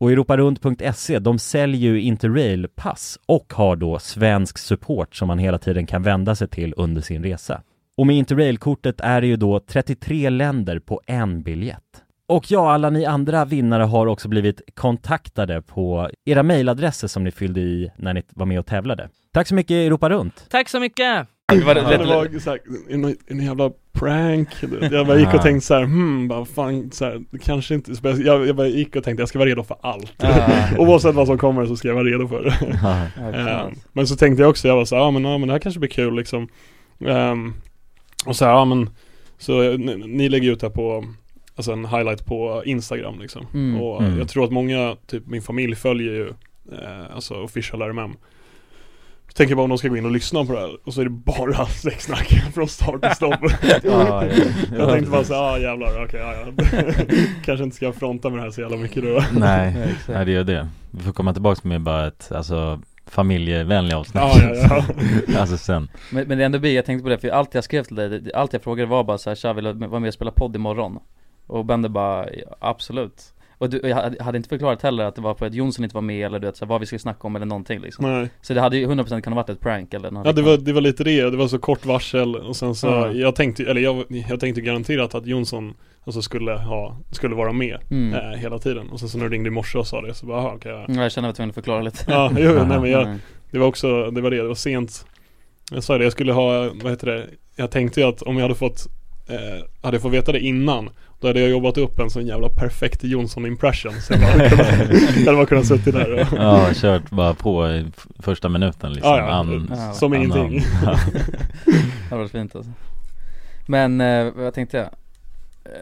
A: Och europarunt.se, E, de säljer ju Interrail-pass och har då svensk support som man hela tiden kan vända sig till under sin resa. Och med Interrail-kortet är det ju då 33 länder på en biljett. Och ja, alla ni andra vinnare har också blivit kontaktade på era mejladresser som ni fyllde i när ni var med och tävlade. Tack så mycket Europa Runt!
B: Tack så mycket!
E: Det var, det var så här, en, en jävla prank Jag bara gick och tänkte så här, hmm, bara fan så här, det kanske inte jag, jag bara gick och tänkte jag ska vara redo för allt Oavsett vad som kommer så ska jag vara redo för det Eh, Men så tänkte jag också, jag var så här, ja men, ja, men det här kanske blir kul liksom Ehm, Och så här, ja men Så eh, ni, ni lägger ut det här på Alltså en highlight på Instagram liksom
D: Mm.
E: Och
A: Mm.
E: jag tror att många, typ min familj följer ju eh, Alltså official RMM så tänker jag bara om de ska gå in och lyssna på det här och så är det bara sexsnack från start till stopp Ah,
C: Ja, ja.
E: Jag tänkte bara såhär, ah jävlar, okej, ja, ja. Kanske inte ska fronta med det här så jävla mycket då Ah,
C: Nej,
D: Ja, exakt.
C: nej det gör det. Vi får komma tillbaks med bara ett, alltså familjevänliga avsnitt.
E: Ja, ja,
C: alltså sen.
D: Men, men det är ändå blir, jag tänkte på det, för allt jag skrev till dig, det- allt jag frågade var bara så här, tja vill du vara med och spela podd imorgon? Och Bender bara, "Ja, absolut Och du, och jag hade- hade inte förklarat heller att det var för att Jonsson inte var med eller du vet så här, vad vi skulle snacka om eller någonting liksom
E: Nej,
D: Så det hade ju 100% kunnat varit ett prank eller
E: Mm.
D: något
E: ja, det, var, det var lite det, det var så kort varsel och sen så,
D: Ja.
E: jag tänkte, eller jag, jag tänkte garanterat att Jonsson Alltså skulle ha, skulle vara med
D: Mm.
E: eh, hela tiden och sen så när du ringde i morse och sa det så bara, aha, okej ja.
D: Mm, Jag känner mig tvungen att förklara lite
E: Ja, jo, nej men jag,
D: Mm.
E: det var också, det var det, det var sent Jag sa det, jag skulle ha, vad heter det Jag tänkte ju att om jag hade fått eh, Hade jag fått veta det innan Då hade jag jobbat upp en sån jävla perfekt Jonsson impression Så jag bara hade kunnat, jag hade bara kunnat suttit där och
C: Ja, kört bara på i f- första minuten liksom.
E: Ja, ja.
D: Ja.
E: Som ingenting.
C: Ja.
D: Det hade varit fint alltså Men, eh, vad tänkte jag? Eh,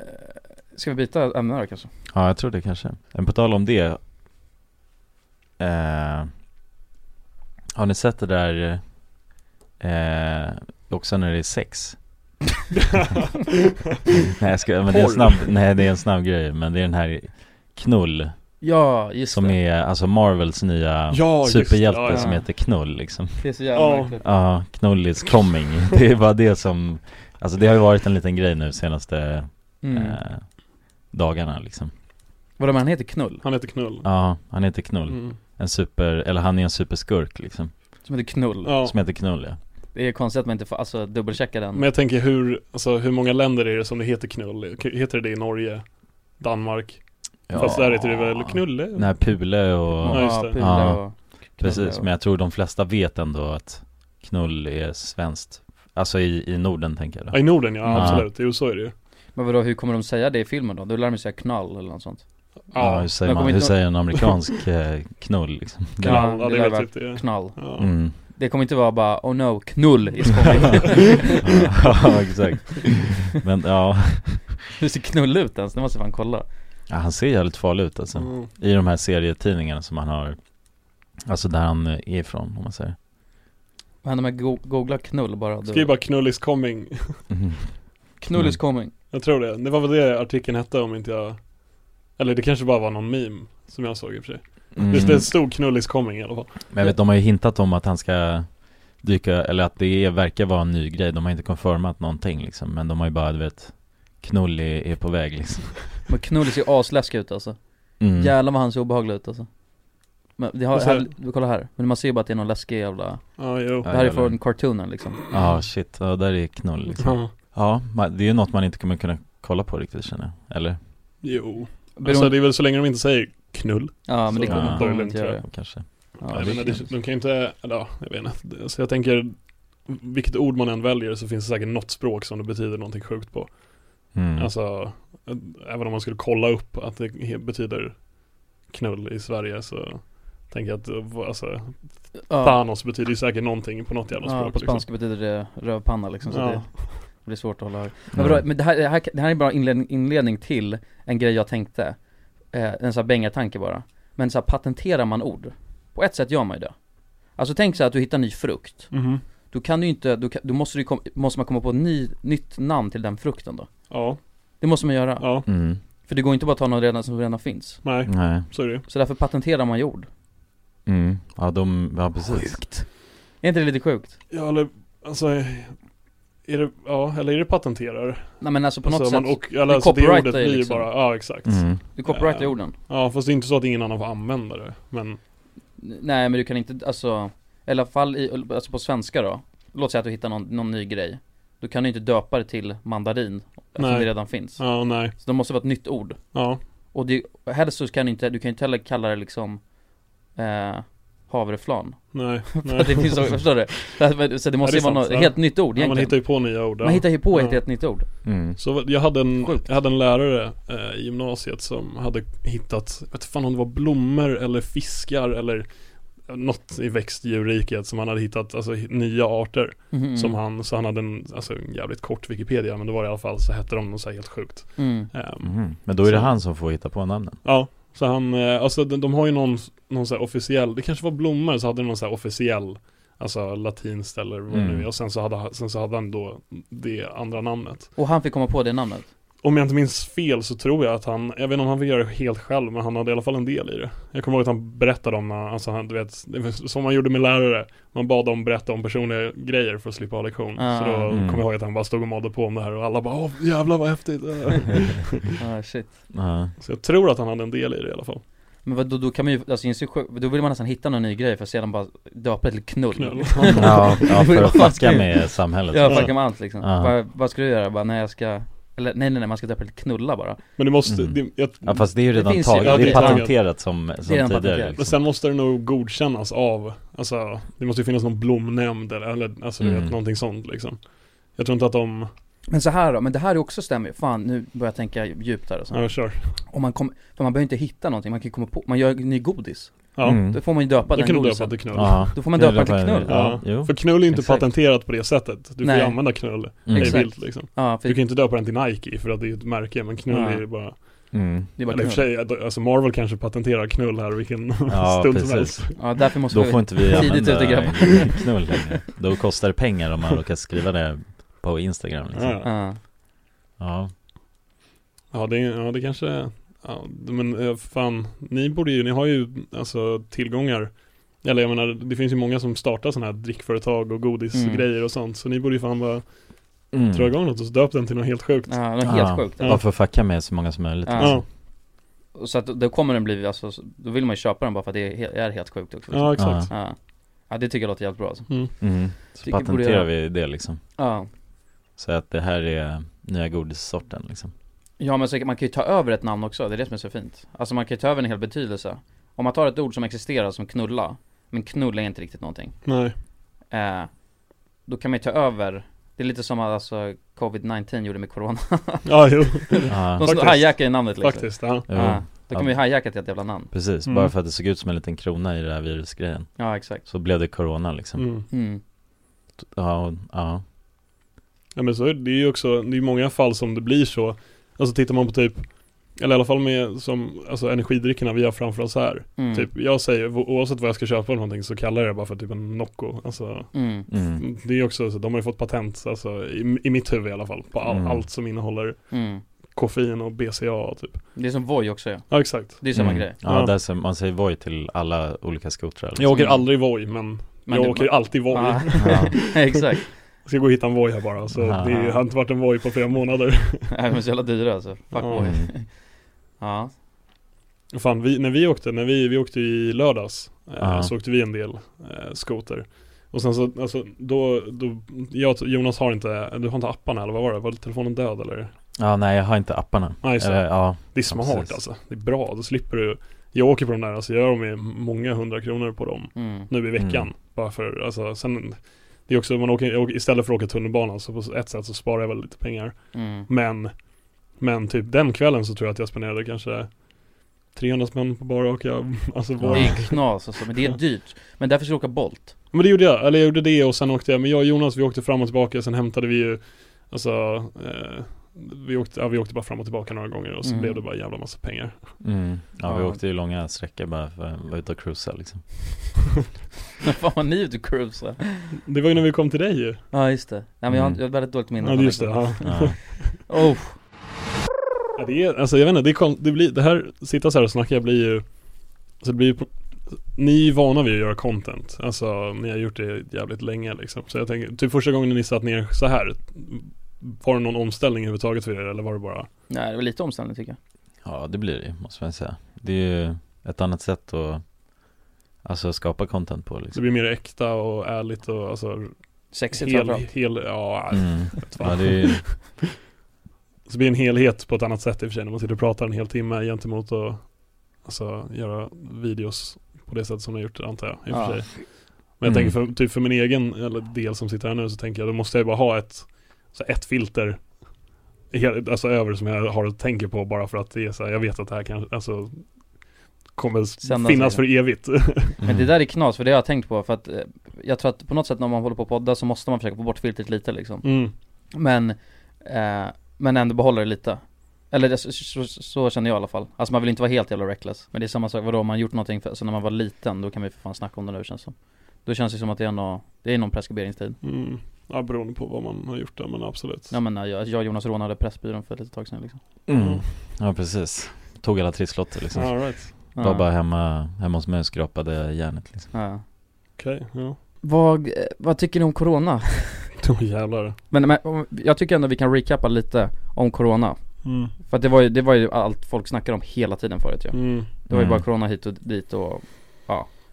D: ska vi byta ämne då kanske?
C: ja, jag tror det kanske. Men på tal om det. Eh, har ni sett det där eh, också när det är sex? nej, jag ska, men det är en snabb, nej, det är en snabb grej. Men det är den här knull.
D: Ja, just
C: Som
D: det,
C: är alltså Marvels nya
E: Ja, just det.
C: superhjälte
E: Ja, ja.
C: som heter Knull liksom
D: det är så jävla
E: Ja.
D: märkligt.
C: Ja, Knull is coming Det är bara det som Alltså det har ju varit en liten grej nu senaste
D: mm.
C: eh, dagarna liksom
D: Vadå men han heter Knull?
E: Han heter Knull
C: Ja, han heter Knull
E: Mm.
C: En super, eller han är en superskurk liksom
D: Som heter Knull?
E: Ja.
C: Som heter Knull ja
D: Det är konstigt att man inte får, alltså dubbelchecka den
E: Men jag tänker hur, alltså hur många länder är det som det heter Knull i? K- Heter det det i Norge? Danmark?
C: Ja.
E: Fast där heter det väl Knulle?
C: Den här Pule
E: Ja,
C: och
E: just det.
D: Pula
C: Ja,
D: och
C: Precis, men jag tror de flesta vet ändå att Knull är svenskt Alltså i, i Norden tänker jag då.
E: Ja, i Norden ja,
C: Ja.
E: absolut, jo så är det ju
D: Men vadå, hur kommer de säga det i filmen då? Då lär de säga knall eller något sånt
C: Ja,
E: Ja,
C: hur säger,
D: Men
C: man,
D: kommer
C: hur
D: inte-
C: säger en amerikansk eh, knull liksom?
E: Knull, ja det
D: lär
E: är
D: vara
E: väl typ det
D: Knall
E: Ja.
C: Mm.
D: Det kommer inte vara bara, oh no, knull is coming
C: ja, exakt. Men ja,
D: Hur ser knull ut ens? Det måste jag fan kolla
C: ja, han ser jävligt farlig ut alltså.
E: Mm.
C: I de här serietidningarna som han har, alltså där han eh, är ifrån om man säger.
D: Vad händer om jag go- googlar knull bara? då?
E: Skriv bara Knull is coming
C: Mhm.
D: Knull
C: Mm.
D: is coming
E: Jag tror det, det var väl det artikeln hette om inte jag Eller det kanske bara var någon meme Som jag såg i och för sig
C: Mm.
E: Just det, stod knullis coming i alla fall
C: Men jag vet, de har ju hintat om att han ska dyka, eller att det är, verkar vara en ny grej. De har inte konfirmat någonting liksom, men de har ju bara, du vet, knull är, är på väg liksom.
D: Men knull ser ju asläskig ut alltså
C: Mm.
D: Jävlar vad han ser obehaglig ut alltså men det har,
E: Och så-
D: här, kolla här, men man ser ju bara att det är någon läskig jävla
E: Ja, jo
C: Ja,
D: Det här är
C: jävlar.
D: från cartoonen liksom
C: Ja, shit, ja, där är knull liksom.
E: Ja,
C: Ja, man- det är ju något man inte kommer kunna kolla på riktigt känner jag, eller?
E: jo Alltså
D: Beroende,
E: det är väl så länge de inte säger knull
D: Ja men det
E: så-
D: kommer
C: Ja.
D: de kommer inte göra
C: Kanske
D: Ja,
E: Jag
D: det
E: menar, det, de kan ju inte, eller ja, jag vet inte Det- Så jag tänker Vilket ord man än väljer så finns det säkert något språk som det betyder någonting sjukt på
C: mm.
E: Alltså ä- Även om man skulle kolla upp att det he- betyder knull i Sverige så Tänker jag att eh, vad- alltså,
D: Ja.
E: Thanos betyder ju säkert någonting på något jävla språk
D: Ja, på
E: liksom.
D: spanska betyder det rövpanna liksom, så
E: Ja.
D: det blir svårt att hålla hög. Men,
C: Mm.
D: vadå, men det, här, det, här, det här är bara inledning, inledning till en grej jag tänkte, eh, en sån här bängartanke bara. Men så här, patenterar man ord? På ett sätt gör man ju det. Alltså tänk så här att du hittar ny frukt,
E: Mhm.
D: då kan du ju inte, då, kan, då måste, du, ju kom, måste man komma på ett ny, nytt namn till den frukten då.
E: Ja,
D: Det måste man göra,
E: ja,
C: Mm.
D: för det går inte bara att ta något redan, som redan finns.
E: nej,
C: Nej,
E: så är det ju
D: Så därför patenterar man ju ord.
C: mm. ja de, ja precis
D: Är inte det lite sjukt?
E: Ja eller, alltså Är det, ja, eller är det patenterar?
D: Nej men alltså på något
E: man-
D: sätt,
E: och, eller,
D: du
E: alltså, det
D: copyrightar
E: ordet
D: ju
E: blir ju
D: liksom.
E: bara, ja exakt
D: Mm. Du copyrightar
E: Eh,
D: orden.
E: Ja fast det är inte så att ingen annan får använda det, men
D: Nej men du kan inte, alltså, i alla fall i, alltså på svenska då Låt säga att du hittar någon, någon ny grej Då kan du inte döpa det till mandarin Eftersom
E: Nej.
D: det redan finns
E: Ja, nej.
D: Så det måste vara ett nytt ord
E: Ja.
D: Och det, helst så kan du inte, du kan ju inte heller kalla det liksom eh, Havreflan
E: Nej,
D: För
E: nej.
D: att det finns, förstår du? Så att- Så det måste
E: Ja,
D: ju
E: sant,
D: vara något
E: ja.
D: helt nytt ord
E: ja, Man
D: egentligen
E: hittar ju på nya ord ja.
D: Man hittar ju på ett helt nytt ord
E: Så jag hade en, jag hade en lärare eh, i gymnasiet som hade hittat, jag vet fan om det var blommor eller fiskar eller något i växtdjurriket som han hade hittat, alltså hi- nya arter
D: Mhm.
E: som han, så han hade en, alltså en jävligt kort Wikipedia men det var i alla fall så hette de något så här helt sjukt
D: Mm.
E: Ehm,
C: Mhm. Men då är det
E: så-
C: han som får hitta på namnen
E: Ja, så han, eh, alltså de, de har ju någon, någon så här officiell, det kanske var blommor så hade de någon så här officiell Alltså latinskt eller vad det
D: Mm.
E: nu är och sen så, hade, sen så hade han då det andra namnet
D: Och han fick komma på det namnet
E: Om jag inte minns fel så tror jag att han, jag vet inte om han fick göra det helt själv men han hade i alla fall en del i det Jag kommer ihåg att han berättade om, när- alltså han, du vet, det var som man gjorde med lärare Man bad dem berätta om personliga grejer för att slippa ha lektion
D: Ah.
E: Så då
C: Mm.
E: kommer jag ihåg att han bara stod och malde på om det här och alla bara åh jävlar vad häftigt
D: ah, shit.
E: Så jag tror att han hade en del i det i alla fall
D: Men vad, då, då kan man ju, alltså, inse- då vill man nästan hitta någon ny grej för att sedan bara döpa det till knull,
E: Knull.
C: Ja, ja, för att fucka med samhället.
D: Ja, fucka med allt liksom
C: Ja.
D: vad, vad ska du göra? Bara, nej jag ska, eller nej nej nej, man ska döpa det till knulla bara
E: Men du måste, det, jag,
C: Mm. Ja fast det är ju redan
D: finns
C: taget,
D: ju- ja,
C: det
D: det
C: är
D: är taget.
C: patenterat som, som tidigare
E: Men
C: liksom.
E: sen måste det nog godkännas av, alltså det måste ju finnas någon blomnämnd eller, eller alltså du
D: Mm.
E: vet, någonting sånt liksom Jag tror inte att de,
D: Men så här då, men det här är också stämmer ju. fan nu börjar jag tänka djupt här och så.
E: Ja, kör.
D: Om man kommer, för man behöver inte hitta någonting, man kan ju komma på, man gör ny godis
E: Ja. Mm.
D: Då får man ju döpa
E: Då
D: den
E: kan du döpa
D: godisen
E: till knull.
C: Ja.
D: Då får man
C: Kan du
D: döpa den till
C: döpa den-
D: knull
E: ja, för knull är ju inte patenterat på det sättet Du får
D: Nej.
E: ju använda knull,
D: Mm.
E: det är
D: Exakt.
E: vilt liksom
D: Ja, för-
E: Du kan ju inte döpa den till Nike för att det är ju ett märke, men knull
D: Ja.
E: är ju bara
C: Mm.
D: Det är bara
E: Eller i och för sig, att- alltså Marvel kanske patenterar knull här vilken
C: Ja
E: stund som helst
C: precis
D: Ja, därför måste
C: Då
D: vi-
C: får inte vi
D: tidigt
C: använda
D: ute, grabbar.
C: knull längre Då kostar det pengar om man råkar skriva det på Instagram liksom.
E: Ja.
D: Ja.
C: Ja,
E: Ja det, ja, det kanske, ja, men eh, fan, ni borde ju, ni har ju alltså tillgångar eller jag menar, det finns ju många som startar sådana här drickföretag och godisgrejer
D: Mm.
E: och sånt Så ni borde ju fan bara
C: Mm.
E: dra igång något och så döp den till något helt sjukt
D: Ja, något helt sjukt
C: Bara för att fucka med så många som möjligt
D: Ja.
C: liksom.
D: Och Så att då kommer den bli, alltså, då vill man ju köpa den bara för att det är, he- är helt sjukt också
C: Ja, exakt.
D: Ja, ja det tycker jag låter jävligt bra alltså.
E: Mm.
C: Mm. Så
D: Tycker borde
C: patenterar
D: göra.
C: vi det liksom
D: Ja.
C: Så att det här är nya godissorten liksom
D: Ja men så, man kan ju ta över ett namn också, det är det som är så fint Alltså man kan ju ta över en hel betydelse Om man tar ett ord som existerar som knulla Men knulla är inte riktigt någonting
E: Nej.
D: eh, Då kan man ju ta över Det är lite som att, alltså covid-19 gjorde med corona
E: Ja, jo.
C: Ja.
D: De
C: Faktiskt.
D: hijackar ju namnet liksom
C: Faktiskt, ja. Jo.
D: Då kan vi hijacka till ett jävla namn
C: Precis,
E: Mm.
C: bara för att det såg ut som en liten krona i den här virusgrejen
D: Ja, exakt.
C: Så blev det corona liksom
E: Mm.
D: Mm.
C: Ja, och- ja
E: Ja men så är det det är ju också, det är ju många fall som det blir så Alltså tittar man på typ Eller i alla fall med som, alltså energidryckerna vi har framför oss här
D: Mm.
E: Typ, jag säger, o- oavsett vad jag ska köpa eller någonting så kallar jag det bara för typ en Nocco Alltså
D: Mm.
C: Mm.
E: Det är ju också, så, de har ju fått patent, alltså i, i mitt huvud i alla fall På all,
D: Mm.
E: allt som innehåller
D: Mm.
E: koffein och BCA typ
D: Det är som Voi också ja
E: Ja exakt
D: Det är samma
C: Mm.
D: grej
C: Ja, Där, ser- man säger Voi till alla olika skotrar liksom.
E: Jag åker aldrig Voi men,
D: Mm. Men
E: jag
D: det-
E: åker ju alltid Voi
D: Ah. Ja. Exakt.
E: Jag ska gå och hitta en Voi här bara, så
D: Ah.
E: det är- har inte varit en Voi på flera månader
D: Nej de är så jävla dyra alltså, fuck Voi
C: Mm.
D: Ja
E: Och Fan, vi, när vi åkte, när vi, vi åkte i lördags eh,
D: Ah.
C: Ja.
E: Så åkte vi en del eh, skoter Och sen så, alltså då, då jag, Jonas har inte, du har inte apparna eller vad var det? Var telefonen död eller?
C: Ja, nej jag har inte apparna
E: Nej, så.
C: Eller, ja,
E: det är smart
C: ja, precis.
E: alltså, det är bra, då slipper du Jag åker på de där, alltså jag gör med många hundra kronor på dem
D: Mm.
E: Nu i veckan,
C: Mm.
E: bara för, alltså sen Det är också, man åker, jag åker, istället för att åka tunnelbanan så på ett sätt så sparar jag väl lite pengar
D: Mm.
E: Men Men typ den kvällen så tror jag att jag spenderade kanske 300 spänn på bara och jag, alltså
D: Det
E: var
D: är knas alltså, men det är dyrt Men därför ska du åka Bolt
E: Men det gjorde jag, eller jag gjorde det och sen åkte jag, men jag och Jonas vi åkte fram och tillbaka, sen hämtade vi ju Alltså eh, vi, åkte, ja, vi åkte bara fram och tillbaka några gånger och så
D: Mm.
E: blev det bara en jävla massa pengar
C: Mm. Ja, vi
D: Ja.
C: åkte ju långa sträckor bara för att vara ute och cruisa liksom
D: Fan vad ni är ute och cruisar
E: Det var ju när vi kom till dig ju
D: Ja just det, nej men jag har,
E: Mm.
D: jag har väldigt dåligt minne
E: Ja
D: från
E: just det,
D: den.
E: ja.
D: Oh.
E: Ja, det är, alltså jag vet inte, det, är kon- det blir, det här, sitta så här och snacka blir ju Alltså det blir ju på, ni är vana vid att göra content. Alltså ni har gjort det jävligt länge liksom. Så jag tänker, typ första gången ni satt ner så här Var det någon omställning överhuvudtaget för er eller var det bara?
D: Nej det var lite omställning tycker jag
C: Ja det blir det måste man säga Det är ju ett annat sätt att Alltså skapa content på
E: Det
C: liksom
E: blir mer äkta och ärligt och alltså
D: Sexigt
E: hel,
D: framförallt.
E: hel, ja,
C: mm.
E: vet Alltså, fan.
C: Ja det är ju
E: Så blir det en helhet på ett annat sätt i och för sig när man sitter och pratar en hel timme gentemot att alltså, göra videos på det sätt som ni har gjort antar jag i och för
D: Ja.
E: sig. Men jag
C: Mm.
E: tänker för, typ för min egen eller del som sitter här nu så tänker jag då måste jag bara ha ett, så här, ett filter hel- alltså över som jag har och tänker på bara för att det är så här, jag vet att det här kan, alltså kommer s-
D: Sändas
E: finnas för evigt.
D: Men det där är knas för det har jag tänkt på för att eh, Jag tror att på något sätt när man håller på och poddar så måste man försöka få bort filtret lite liksom
E: mm.
D: Men, eh, men ändå behålla det lite Eller det, så, så, så känner jag i alla fall Alltså man vill inte vara helt jävla reckless Men det är samma sak, vadå om man gjort någonting, för, så när man var liten då kan vi för fan snacka om det nu känns som Då känns det som att det är någon, det är någon preskriberingstid
E: Mm. Ja, beroende på vad man har gjort där men absolut.
D: Ja men eh, jag, jag och Jonas rånade Pressbyrån för ett litet tag sedan liksom
C: mm. Ja precis Tog alla trisslotter liksom
E: All right.
D: Ja.
C: Var bara hemma, hemma hos mig och skrapade järnet liksom
D: ja.
E: Okej, ja.
D: vad, eh, vad tycker ni om Corona?
E: Då jävlar.
D: Men, men om- jag tycker ändå vi kan recappa lite om Corona
E: Mm.
D: För att det var ju, det var ju allt folk snackade om hela tiden förut ju
E: Mm.
D: Det var ju
C: Mm.
D: bara Corona hit och dit och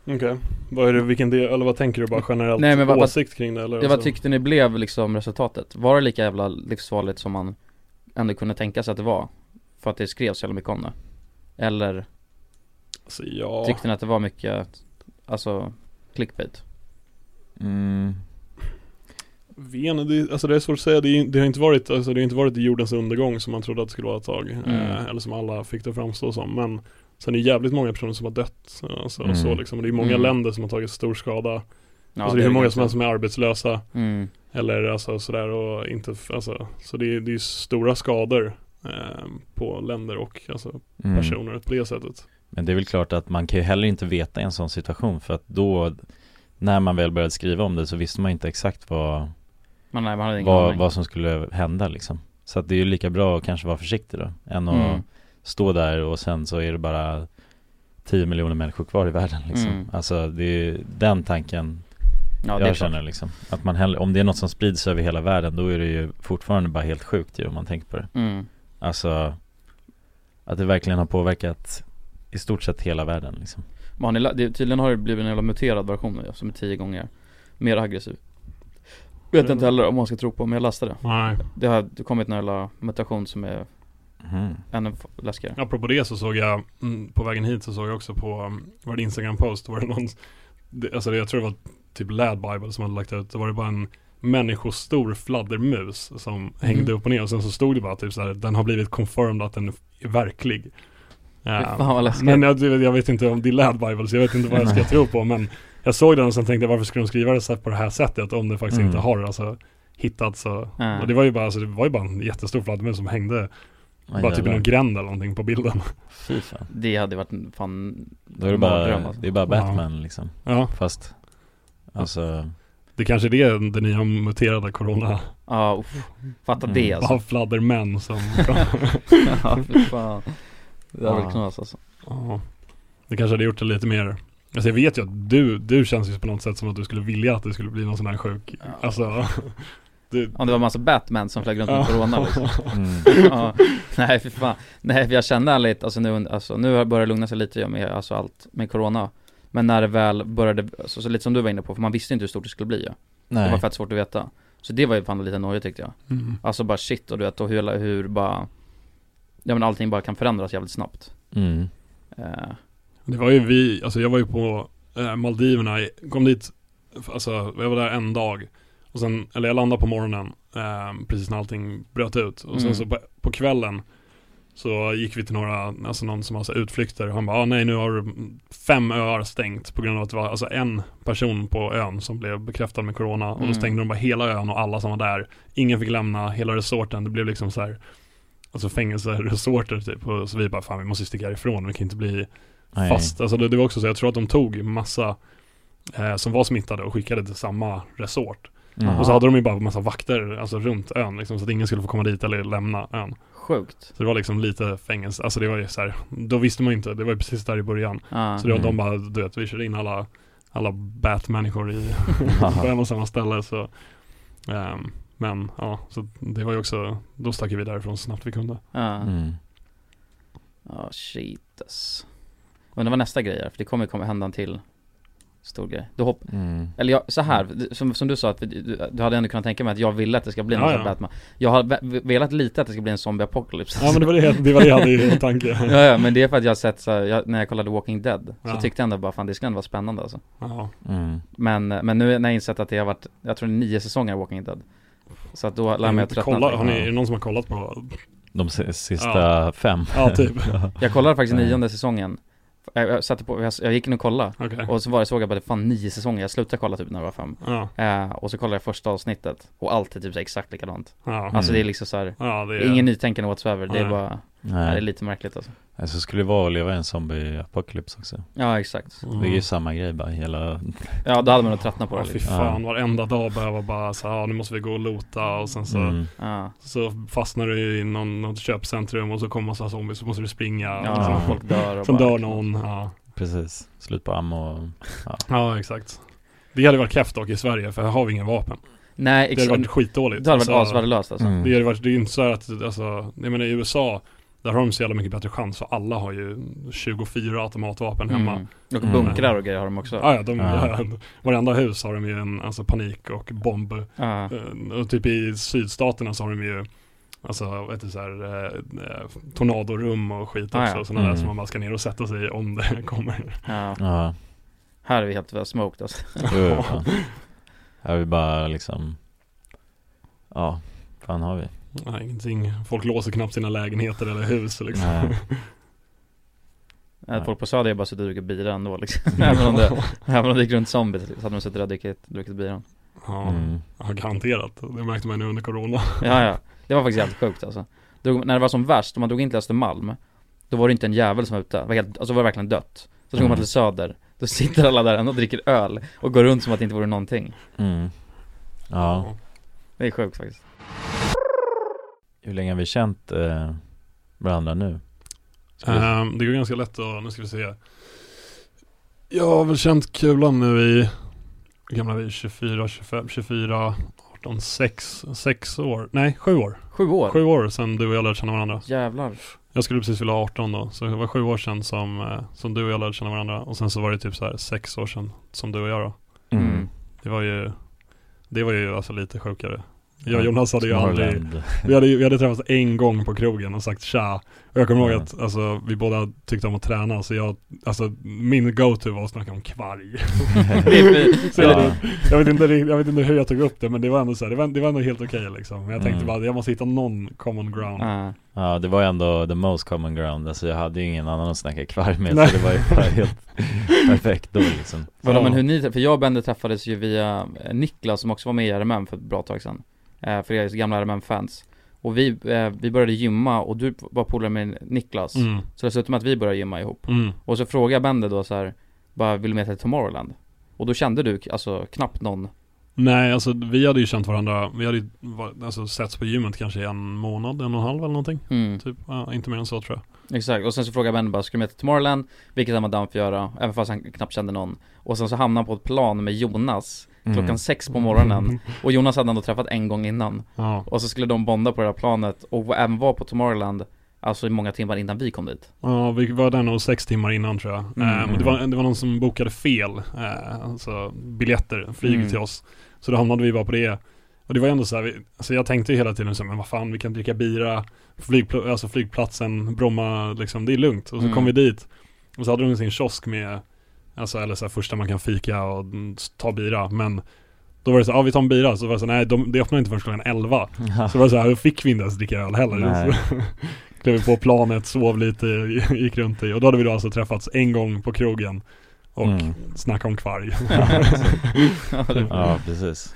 E: Okej, vad är det, vilken del, eller vad tänker du bara generellt?
D: Nej, men vad- vad-
E: åsikt kring det eller?
D: Ja, vad
E: alltså?
D: tyckte ni blev liksom resultatet? Var det lika jävla livsfarligt som man ändå kunde tänka sig att det var? För att det skrevs så jävla mycket om det? Eller
E: Alltså, ja,
D: tyckte ni att det var mycket, alltså clickbait?
C: mm.
E: Ven, det, alltså det är svårt att säga, det, är- det har inte varit, alltså det har inte varit jordens undergång som man trodde att det skulle vara ett tag.
D: Mm.
E: Eh, eller som alla fick det framstå som. Men sen är det jävligt många personer som har dött. Alltså,
C: Mm.
E: så liksom. Och det är många
D: Mm.
E: länder som har tagit stor skada.
D: Ja,
E: alltså det är hur många
D: ganska-
E: som helst som är arbetslösa.
D: mm.
E: Eller alltså sådär och inte, f- alltså, så det är, det är stora skador eh, på länder och alltså,
C: Mm.
E: personer på det sättet.
C: Men det är väl klart att man kan ju heller inte veta i en sån situation för att då När man väl började skriva om det så visste man inte exakt vad,
D: Men nej, man hade ingen
C: vad,
D: aning
C: vad som skulle hända liksom Så att det är ju lika bra att kanske vara försiktig då än att
D: Mm.
C: stå där och sen så är det bara 10 miljoner människor kvar i världen liksom
D: Mm.
C: Alltså det är ju den tanken
D: Ja, det är
C: jag
D: klart.
C: känner liksom Att man hellre, om det är något som sprids över hela världen då är det ju fortfarande bara helt sjukt ju om man tänker på det
D: Mm.
C: Alltså Att det verkligen har påverkat i stort sett hela världen liksom
D: Men har ni, la- det, tydligen har det blivit en jävla muterad version nu, som är tio gånger mer aggressiv Vet inte heller om man ska tro på, men jag läste det
E: Nej.
D: Det har kommit en jävla mutation som är
C: Mhm.
D: ännu f- läskigare
E: Apropå det så såg jag, mm, på vägen hit så såg jag också på, um, var det Instagram-post, var det någon, det, alltså det- jag tror det var typ Lad Bible som hade lagt ut, då var det bara en människostor fladdermus som
D: Mm.
E: hängde upp och ner och sen så stod det bara typ så här, den har blivit confirmed att den är verklig. Eh,
D: Fan vad läskigt
E: men jag, jag vet inte om det är Lad Bible så jag vet inte vad jag ska tro på men jag såg den och sen tänkte jag varför skulle de skriva det så här på det här sättet om det faktiskt
C: Mm.
E: inte har alltså hittats så,
D: Mm.
E: och det var ju bara, alltså, det var ju bara en jättestor fladdermus som hängde bara
C: Aj,
E: typ i
C: jävlar.
E: någon gränd eller någonting på bilden.
C: Fy fan.
D: Det hade varit fan
C: Då är det
D: Mardröm,
C: bara,
D: alltså.
C: det är bara
E: Ja.
C: Batman liksom
E: Ja,
C: Fast Alltså
E: det kanske är det det nya muterade corona.
D: Ja, uff. fatta
C: Mm.
D: det alltså
E: Bara fladdermän som...
D: Ja, fy fan Det hade varit
C: Ja.
D: knas alltså
E: ja. Det kanske hade gjort det lite mer... Alltså jag vet ju att du, du känns ju på något sätt som att du skulle vilja att det skulle bli någon sån här sjuk...
D: Ja.
E: Alltså... Du,
D: Om det var massa Batman som flög runt med
E: Ja.
D: corona liksom.
C: mm.
D: ja. Nej fy fan Nej för jag kände ärligt, alltså nu, alltså, nu har jag börjat lugna sig lite ju med alltså, allt med corona Men när det väl började, alltså, så lite som du var inne på, för man visste inte hur stort det skulle bli ju. Det var
C: Nej
D: fett svårt att veta Så det var ju fan lite nojigt tyckte jag
E: mm.
D: Alltså bara shit och du vet, och hur, hur bara Ja men allting bara kan förändras jävligt snabbt
C: mm.
D: eh,
E: Det var ju vi, alltså jag var ju på eh, Maldiverna, i- kom dit, alltså jag var där en dag. Och sen, eller jag landade på morgonen, eh, precis när allting bröt ut. Och sen
D: Mm.
E: så på, på kvällen så gick vi till några, alltså någon som har så här utflykter och han bara, ah, nej nu har fem öar stängt på grund av att det var alltså en person på ön som blev bekräftad med corona och då
D: Mm.
E: stängde de bara hela ön och alla som var där. Ingen fick lämna hela resorten, det blev liksom så här alltså fängelseresorter typ. Och så vi bara, fan vi måste sticka härifrån, vi kan inte bli
C: Nej.
E: fast. Alltså det, det var också så, jag tror att de tog massa eh, som var smittade och skickade till samma resort.
A: Mm.
E: Och så hade de ju bara massa vakter, alltså runt ön liksom, så att ingen skulle få komma dit eller lämna ön.
D: Sjukt.
E: Så det var liksom lite fängelse, alltså det var ju så här, då visste man ju inte, det var ju precis där i början.
D: Ah.
E: Så det var de
A: Mm.
E: bara, du vet, vi körde in alla, alla Bat-människor i på
A: Haha.
E: en och samma ställe så ehm, Men ja, så det var ju också, då stack ju vi därifrån så snabbt vi kunde
D: Ah.
A: Mm.
D: Ja, shit ass. Men det var nästa grej här, för det kommer komma hända en till stor grej. Du hopp,
A: Mm.
D: eller jag, så här, det- som, som du sa att du, du- du hade ändå kunnat tänka mig att jag ville att det ska bli en
E: Ja,
D: ja,
E: ja.
D: Batman. Jag har ve- velat lite att det ska bli en zombie apocalypse.
E: Ja men det var det, det, var det jag hade i tanke
D: ja, ja, men det är för att jag har sett så här, jag, när jag kollade Walking Dead, så
E: Ja.
D: tyckte jag ändå bara fan det skulle ändå vara spännande alltså.
E: ja.
A: Mm.
D: Men, men nu när jag insett att det har varit, jag tror det är nio säsonger av Walking Dead. Så att då lär mig att tröttna.
E: Kolla, har ni,
A: Ja.
E: är det någon som har kollat på?
C: De si- sista fem
E: Ja typ,
D: Jag kollade faktiskt
C: Nej.
D: nionde säsongen. Jag, jag satte på, jag, jag gick in och kollade.
E: okej
D: Och så var det, såg jag bara det är fan nio säsonger, jag slutade kolla typ när jag var fem.
E: Ja,
D: Eh, och så kollar jag första avsnittet och allt är typ så här exakt likadant.
E: ja,
D: Alltså det är liksom så här,
E: ja Mm. det
D: det
E: är,
D: är ingen nytänkande whatsoever, det är
E: Nej.
D: bara, ja, det är
C: Nej,
D: lite märkligt alltså.
C: Nej, så skulle det vara att leva i en zombie-apokalyps också
D: Ja exakt.
E: Mm.
C: Det är ju samma grej bara, hela
D: Ja då hade man nog tröttnat på
E: Ja
D: det
E: fy
D: liksom.
E: fan, varenda dag behöver bara så här, ja nu måste vi gå och lota och sen så
C: mm.
D: Ja,
E: Så fastnar du i någon, något köpcentrum och så kommer massa zombies så måste du springa och
D: ja
E: så folk,
D: folk dör och
E: Sen
D: bara,
E: dör någon, ja
C: Precis, slut på ammo och
E: Ja exakt Det hade varit kräft dock i Sverige för här har vi inga vapen
D: Nej
E: Det hade varit
D: exakt,
E: skitdåligt
D: det hade varit
E: Alltså,
D: asvärdelöst alltså.
E: Det är, ju varit- det är ju inte så här att, alltså, jag menar i USA, där har de så jävla mycket bättre chans för alla har ju 24 automatvapen hemma.
D: Mm. Och
C: Mm.
D: bunkrar och grejer har de också.
E: Ja, ja, de,
C: Ja.
E: ja. varenda hus har de ju en alltså, panik och bomb.
D: Ja.
E: Eh, Och typ i sydstaterna så har de ju Alltså vad heter det, så här, eh, eh, tornadorum och skit
D: Ah,
E: också,
D: ja.
E: sådana där
C: Mm.
E: som man bara ska ner och sätta sig i om det kommer.
D: Ja.
C: Ja,
D: Här är vi helt smoked alltså.
C: jo, jo, fan. Jag vill bara liksom Ja, fan har vi?
E: Nej, ingenting. Folk låser knappt sina lägenheter eller hus liksom.
C: Nej.
D: Att Eh, folk på söder är bara suttit och druckit bira ändå liksom. även, om det, även om det gick runt zombies så hade de suttit där och druckit, druckit bira.
E: Ja,
C: Mm.
E: ja, garanterat. Det märkte man nu under corona.
D: Ja, ja. Det var faktiskt helt sjukt alltså. Drog, när det var som värst, om man drog in till Östermalm, då var det inte en jävel som var ute. Det var helt, alltså var det verkligen dött. Så drog man till Söder, då sitter alla där ändå och dricker öl och går runt som att det inte vore någonting.
C: Mm. Ja,
D: Det är sjukt faktiskt.
C: hur länge har vi känt eh, varandra nu? Ska vi-
E: Ehm, det går ganska lätt att, nu ska vi se. Jag har väl känt kulan nu i, hur gamla är vi? 24, 25, 24, 18, 6, 6 år. Nej, 7 år.
D: Sju år?
E: 7 år sedan du och jag lärde känna varandra.
D: Jävlar.
E: Jag skulle precis fylla 18 då, så det var 7 år sedan som, eh, som du och jag lärde känna varandra. Och sen så var det typ så här 6 år sedan som du och jag då.
D: Mm.
E: Det var ju, det var ju alltså lite sjukare. Jag
C: Ja,
E: och Jonas hade ju aldrig
C: Småland.
E: vi hade, vi hade träffats en gång på krogen och sagt tja. Och jag kommer ihåg
C: Mm.
E: att alltså, vi båda tyckte om att träna, så jag, alltså min go-to var att snacka om kvarg. så jag,
C: Ja.
E: jag, vet inte, rikt- jag vet inte hur jag tog upp det, men det var ändå så här, det, var, det var ändå helt okej liksom. Men jag tänkte
C: Mm.
E: bara, jag måste hitta någon common ground.
D: Ja.
C: Ja, det var ju ändå the most common ground, alltså jag hade ju ingen annan att snacka kvar med
E: Nej.
C: så det var ju bara helt perfekt då liksom
D: Vadå
E: Ja.
D: men hur ni, för jag och Bender träffades ju via eh, Niklas som också var med i RMM för ett bra tag sedan. Eh, för er gamla RMM-fans. Och vi, eh, vi började gymma och du var polare med Niklas.
E: Mm.
D: Så det slutade med att vi började gymma ihop.
E: Mm.
D: Och så frågade jag Bender då så här, bara vill du med till Tomorrowland? Och då kände du alltså knappt någon,
E: Nej, alltså vi hade ju känt varandra, vi hade ju va- alltså, setts på gymmet kanske i en månad, en och en halv eller någonting.
D: mm,
E: Typ, ja, inte mer än så tror jag.
D: exakt. Och sen så frågade Bender bara, ska du med till Tomorrowland? Vilket han var down för att göra, även fast han knappt kände någon. Och sen så hamnade han på ett plan med Jonas
E: Mm.
D: klockan sex på morgonen. Och Jonas hade han då träffat en gång innan.
E: Ja,
D: Och så skulle de bonda på det här planet och även vara på Tomorrowland Alltså i många timmar innan vi kom dit
E: ja vi var där nog sex timmar innan tror jag.
D: Mm.
E: Eh, men det, var, det var någon som bokade fel, eh, alltså biljetter, flyg
D: Mm.
E: till oss. Så då hamnade vi bara på det. Och det var ju ändå så här, vi, alltså jag tänkte ju hela tiden så här, men vad fan vi kan dricka bira, flygpl- alltså flygplatsen, Bromma, liksom, det är lugnt. Och så
D: Mm.
E: kom vi dit och så hade de sin kiosk med, alltså eller så här, första man kan fika och mm, ta bira. Men då var det så här, ja vi tar en bira, så var det så här, nej de, det öppnar inte förrän klockan 11.
C: Ja.
E: Så det var så här, då fick vi inte ens dricka öl heller.
C: Nej.
E: Så Klev vi på planet, sov lite, gick runt i. Och då hade vi då alltså träffats en gång på krogen och
C: Mm.
E: snackat om kvarg.
C: Ja, precis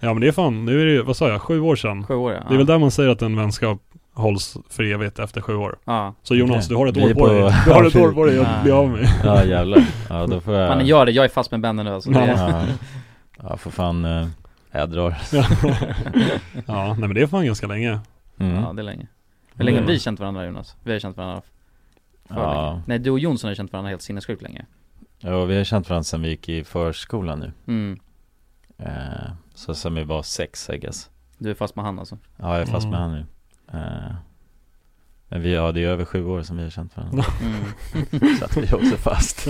E: Ja men det är fan, nu är det ju, vad sa jag, sju år sedan.
D: Sju år ja
E: Det är väl där man säger att en vänskap hålls för evigt efter sju år.
D: Ja,
E: Så Jonas,
C: Okej.
E: du har ett
C: Vi
E: år
C: är
E: på,
C: på-
E: dig. Du har ett år på dig att bli av med.
C: Ja jävlar, ja då får jag
D: mannen gör det, jag är fast med banden nu alltså det är,
C: Ja, ja för fan eh, Jag drar.
E: ja, nej men det är fan ganska länge.
C: Mm.
E: Mm.
D: Ja det är länge Hur länge har vi känt varandra Jonas? Vi har känt varandra för
C: Ja.
D: länge. Nej du och Jonsson har känt varandra helt sinnessjukt länge
C: Ja, vi har känt varandra sedan vi gick i förskolan nu.
D: mm.
C: Eh, så sen vi var sex, I guess.
D: Du är fast med han alltså?
C: Ja, jag är fast med
E: Mm.
C: han nu. Eh, men vi, ja, det är över sju år som vi har känt varandra.
D: Mm.
C: så att vi är också fast.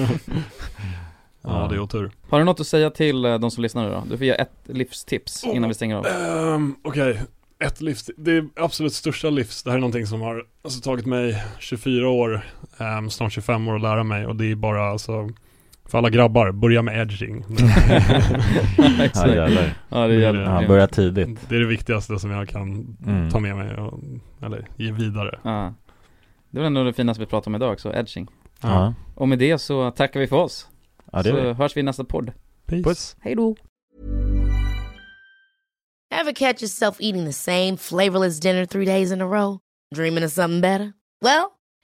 E: Ja, det är otur.
D: Har du något att säga till eh, de som lyssnar nu då? Du får ge ett livstips innan vi stänger av
E: Ehm, Okej, ett livs... Det är absolut största livs. Det här är någonting som har alltså, tagit mig 24 år, ehm, snart 25 år att lära mig. Och det är bara alltså, för alla grabbar, börja med edging.
C: Ja, jävlar.
D: Ja det är jävligt
E: Ja,
C: Han
D: grymt.
C: börjar tidigt.
E: det är det viktigaste som jag kan
C: Mm.
E: ta med mig och, eller ge vidare.
D: ja. Det var ändå det finaste vi pratade om idag också, edging
C: Ja,
D: Och med det så tackar vi för oss
C: ja det är
D: Så
C: vi.
D: hörs vi i nästa podd
E: Peace.
D: Hej då!
H: Ever catch yourself eating the same flavorless dinner three days in a row? Dreaming of something better? Well,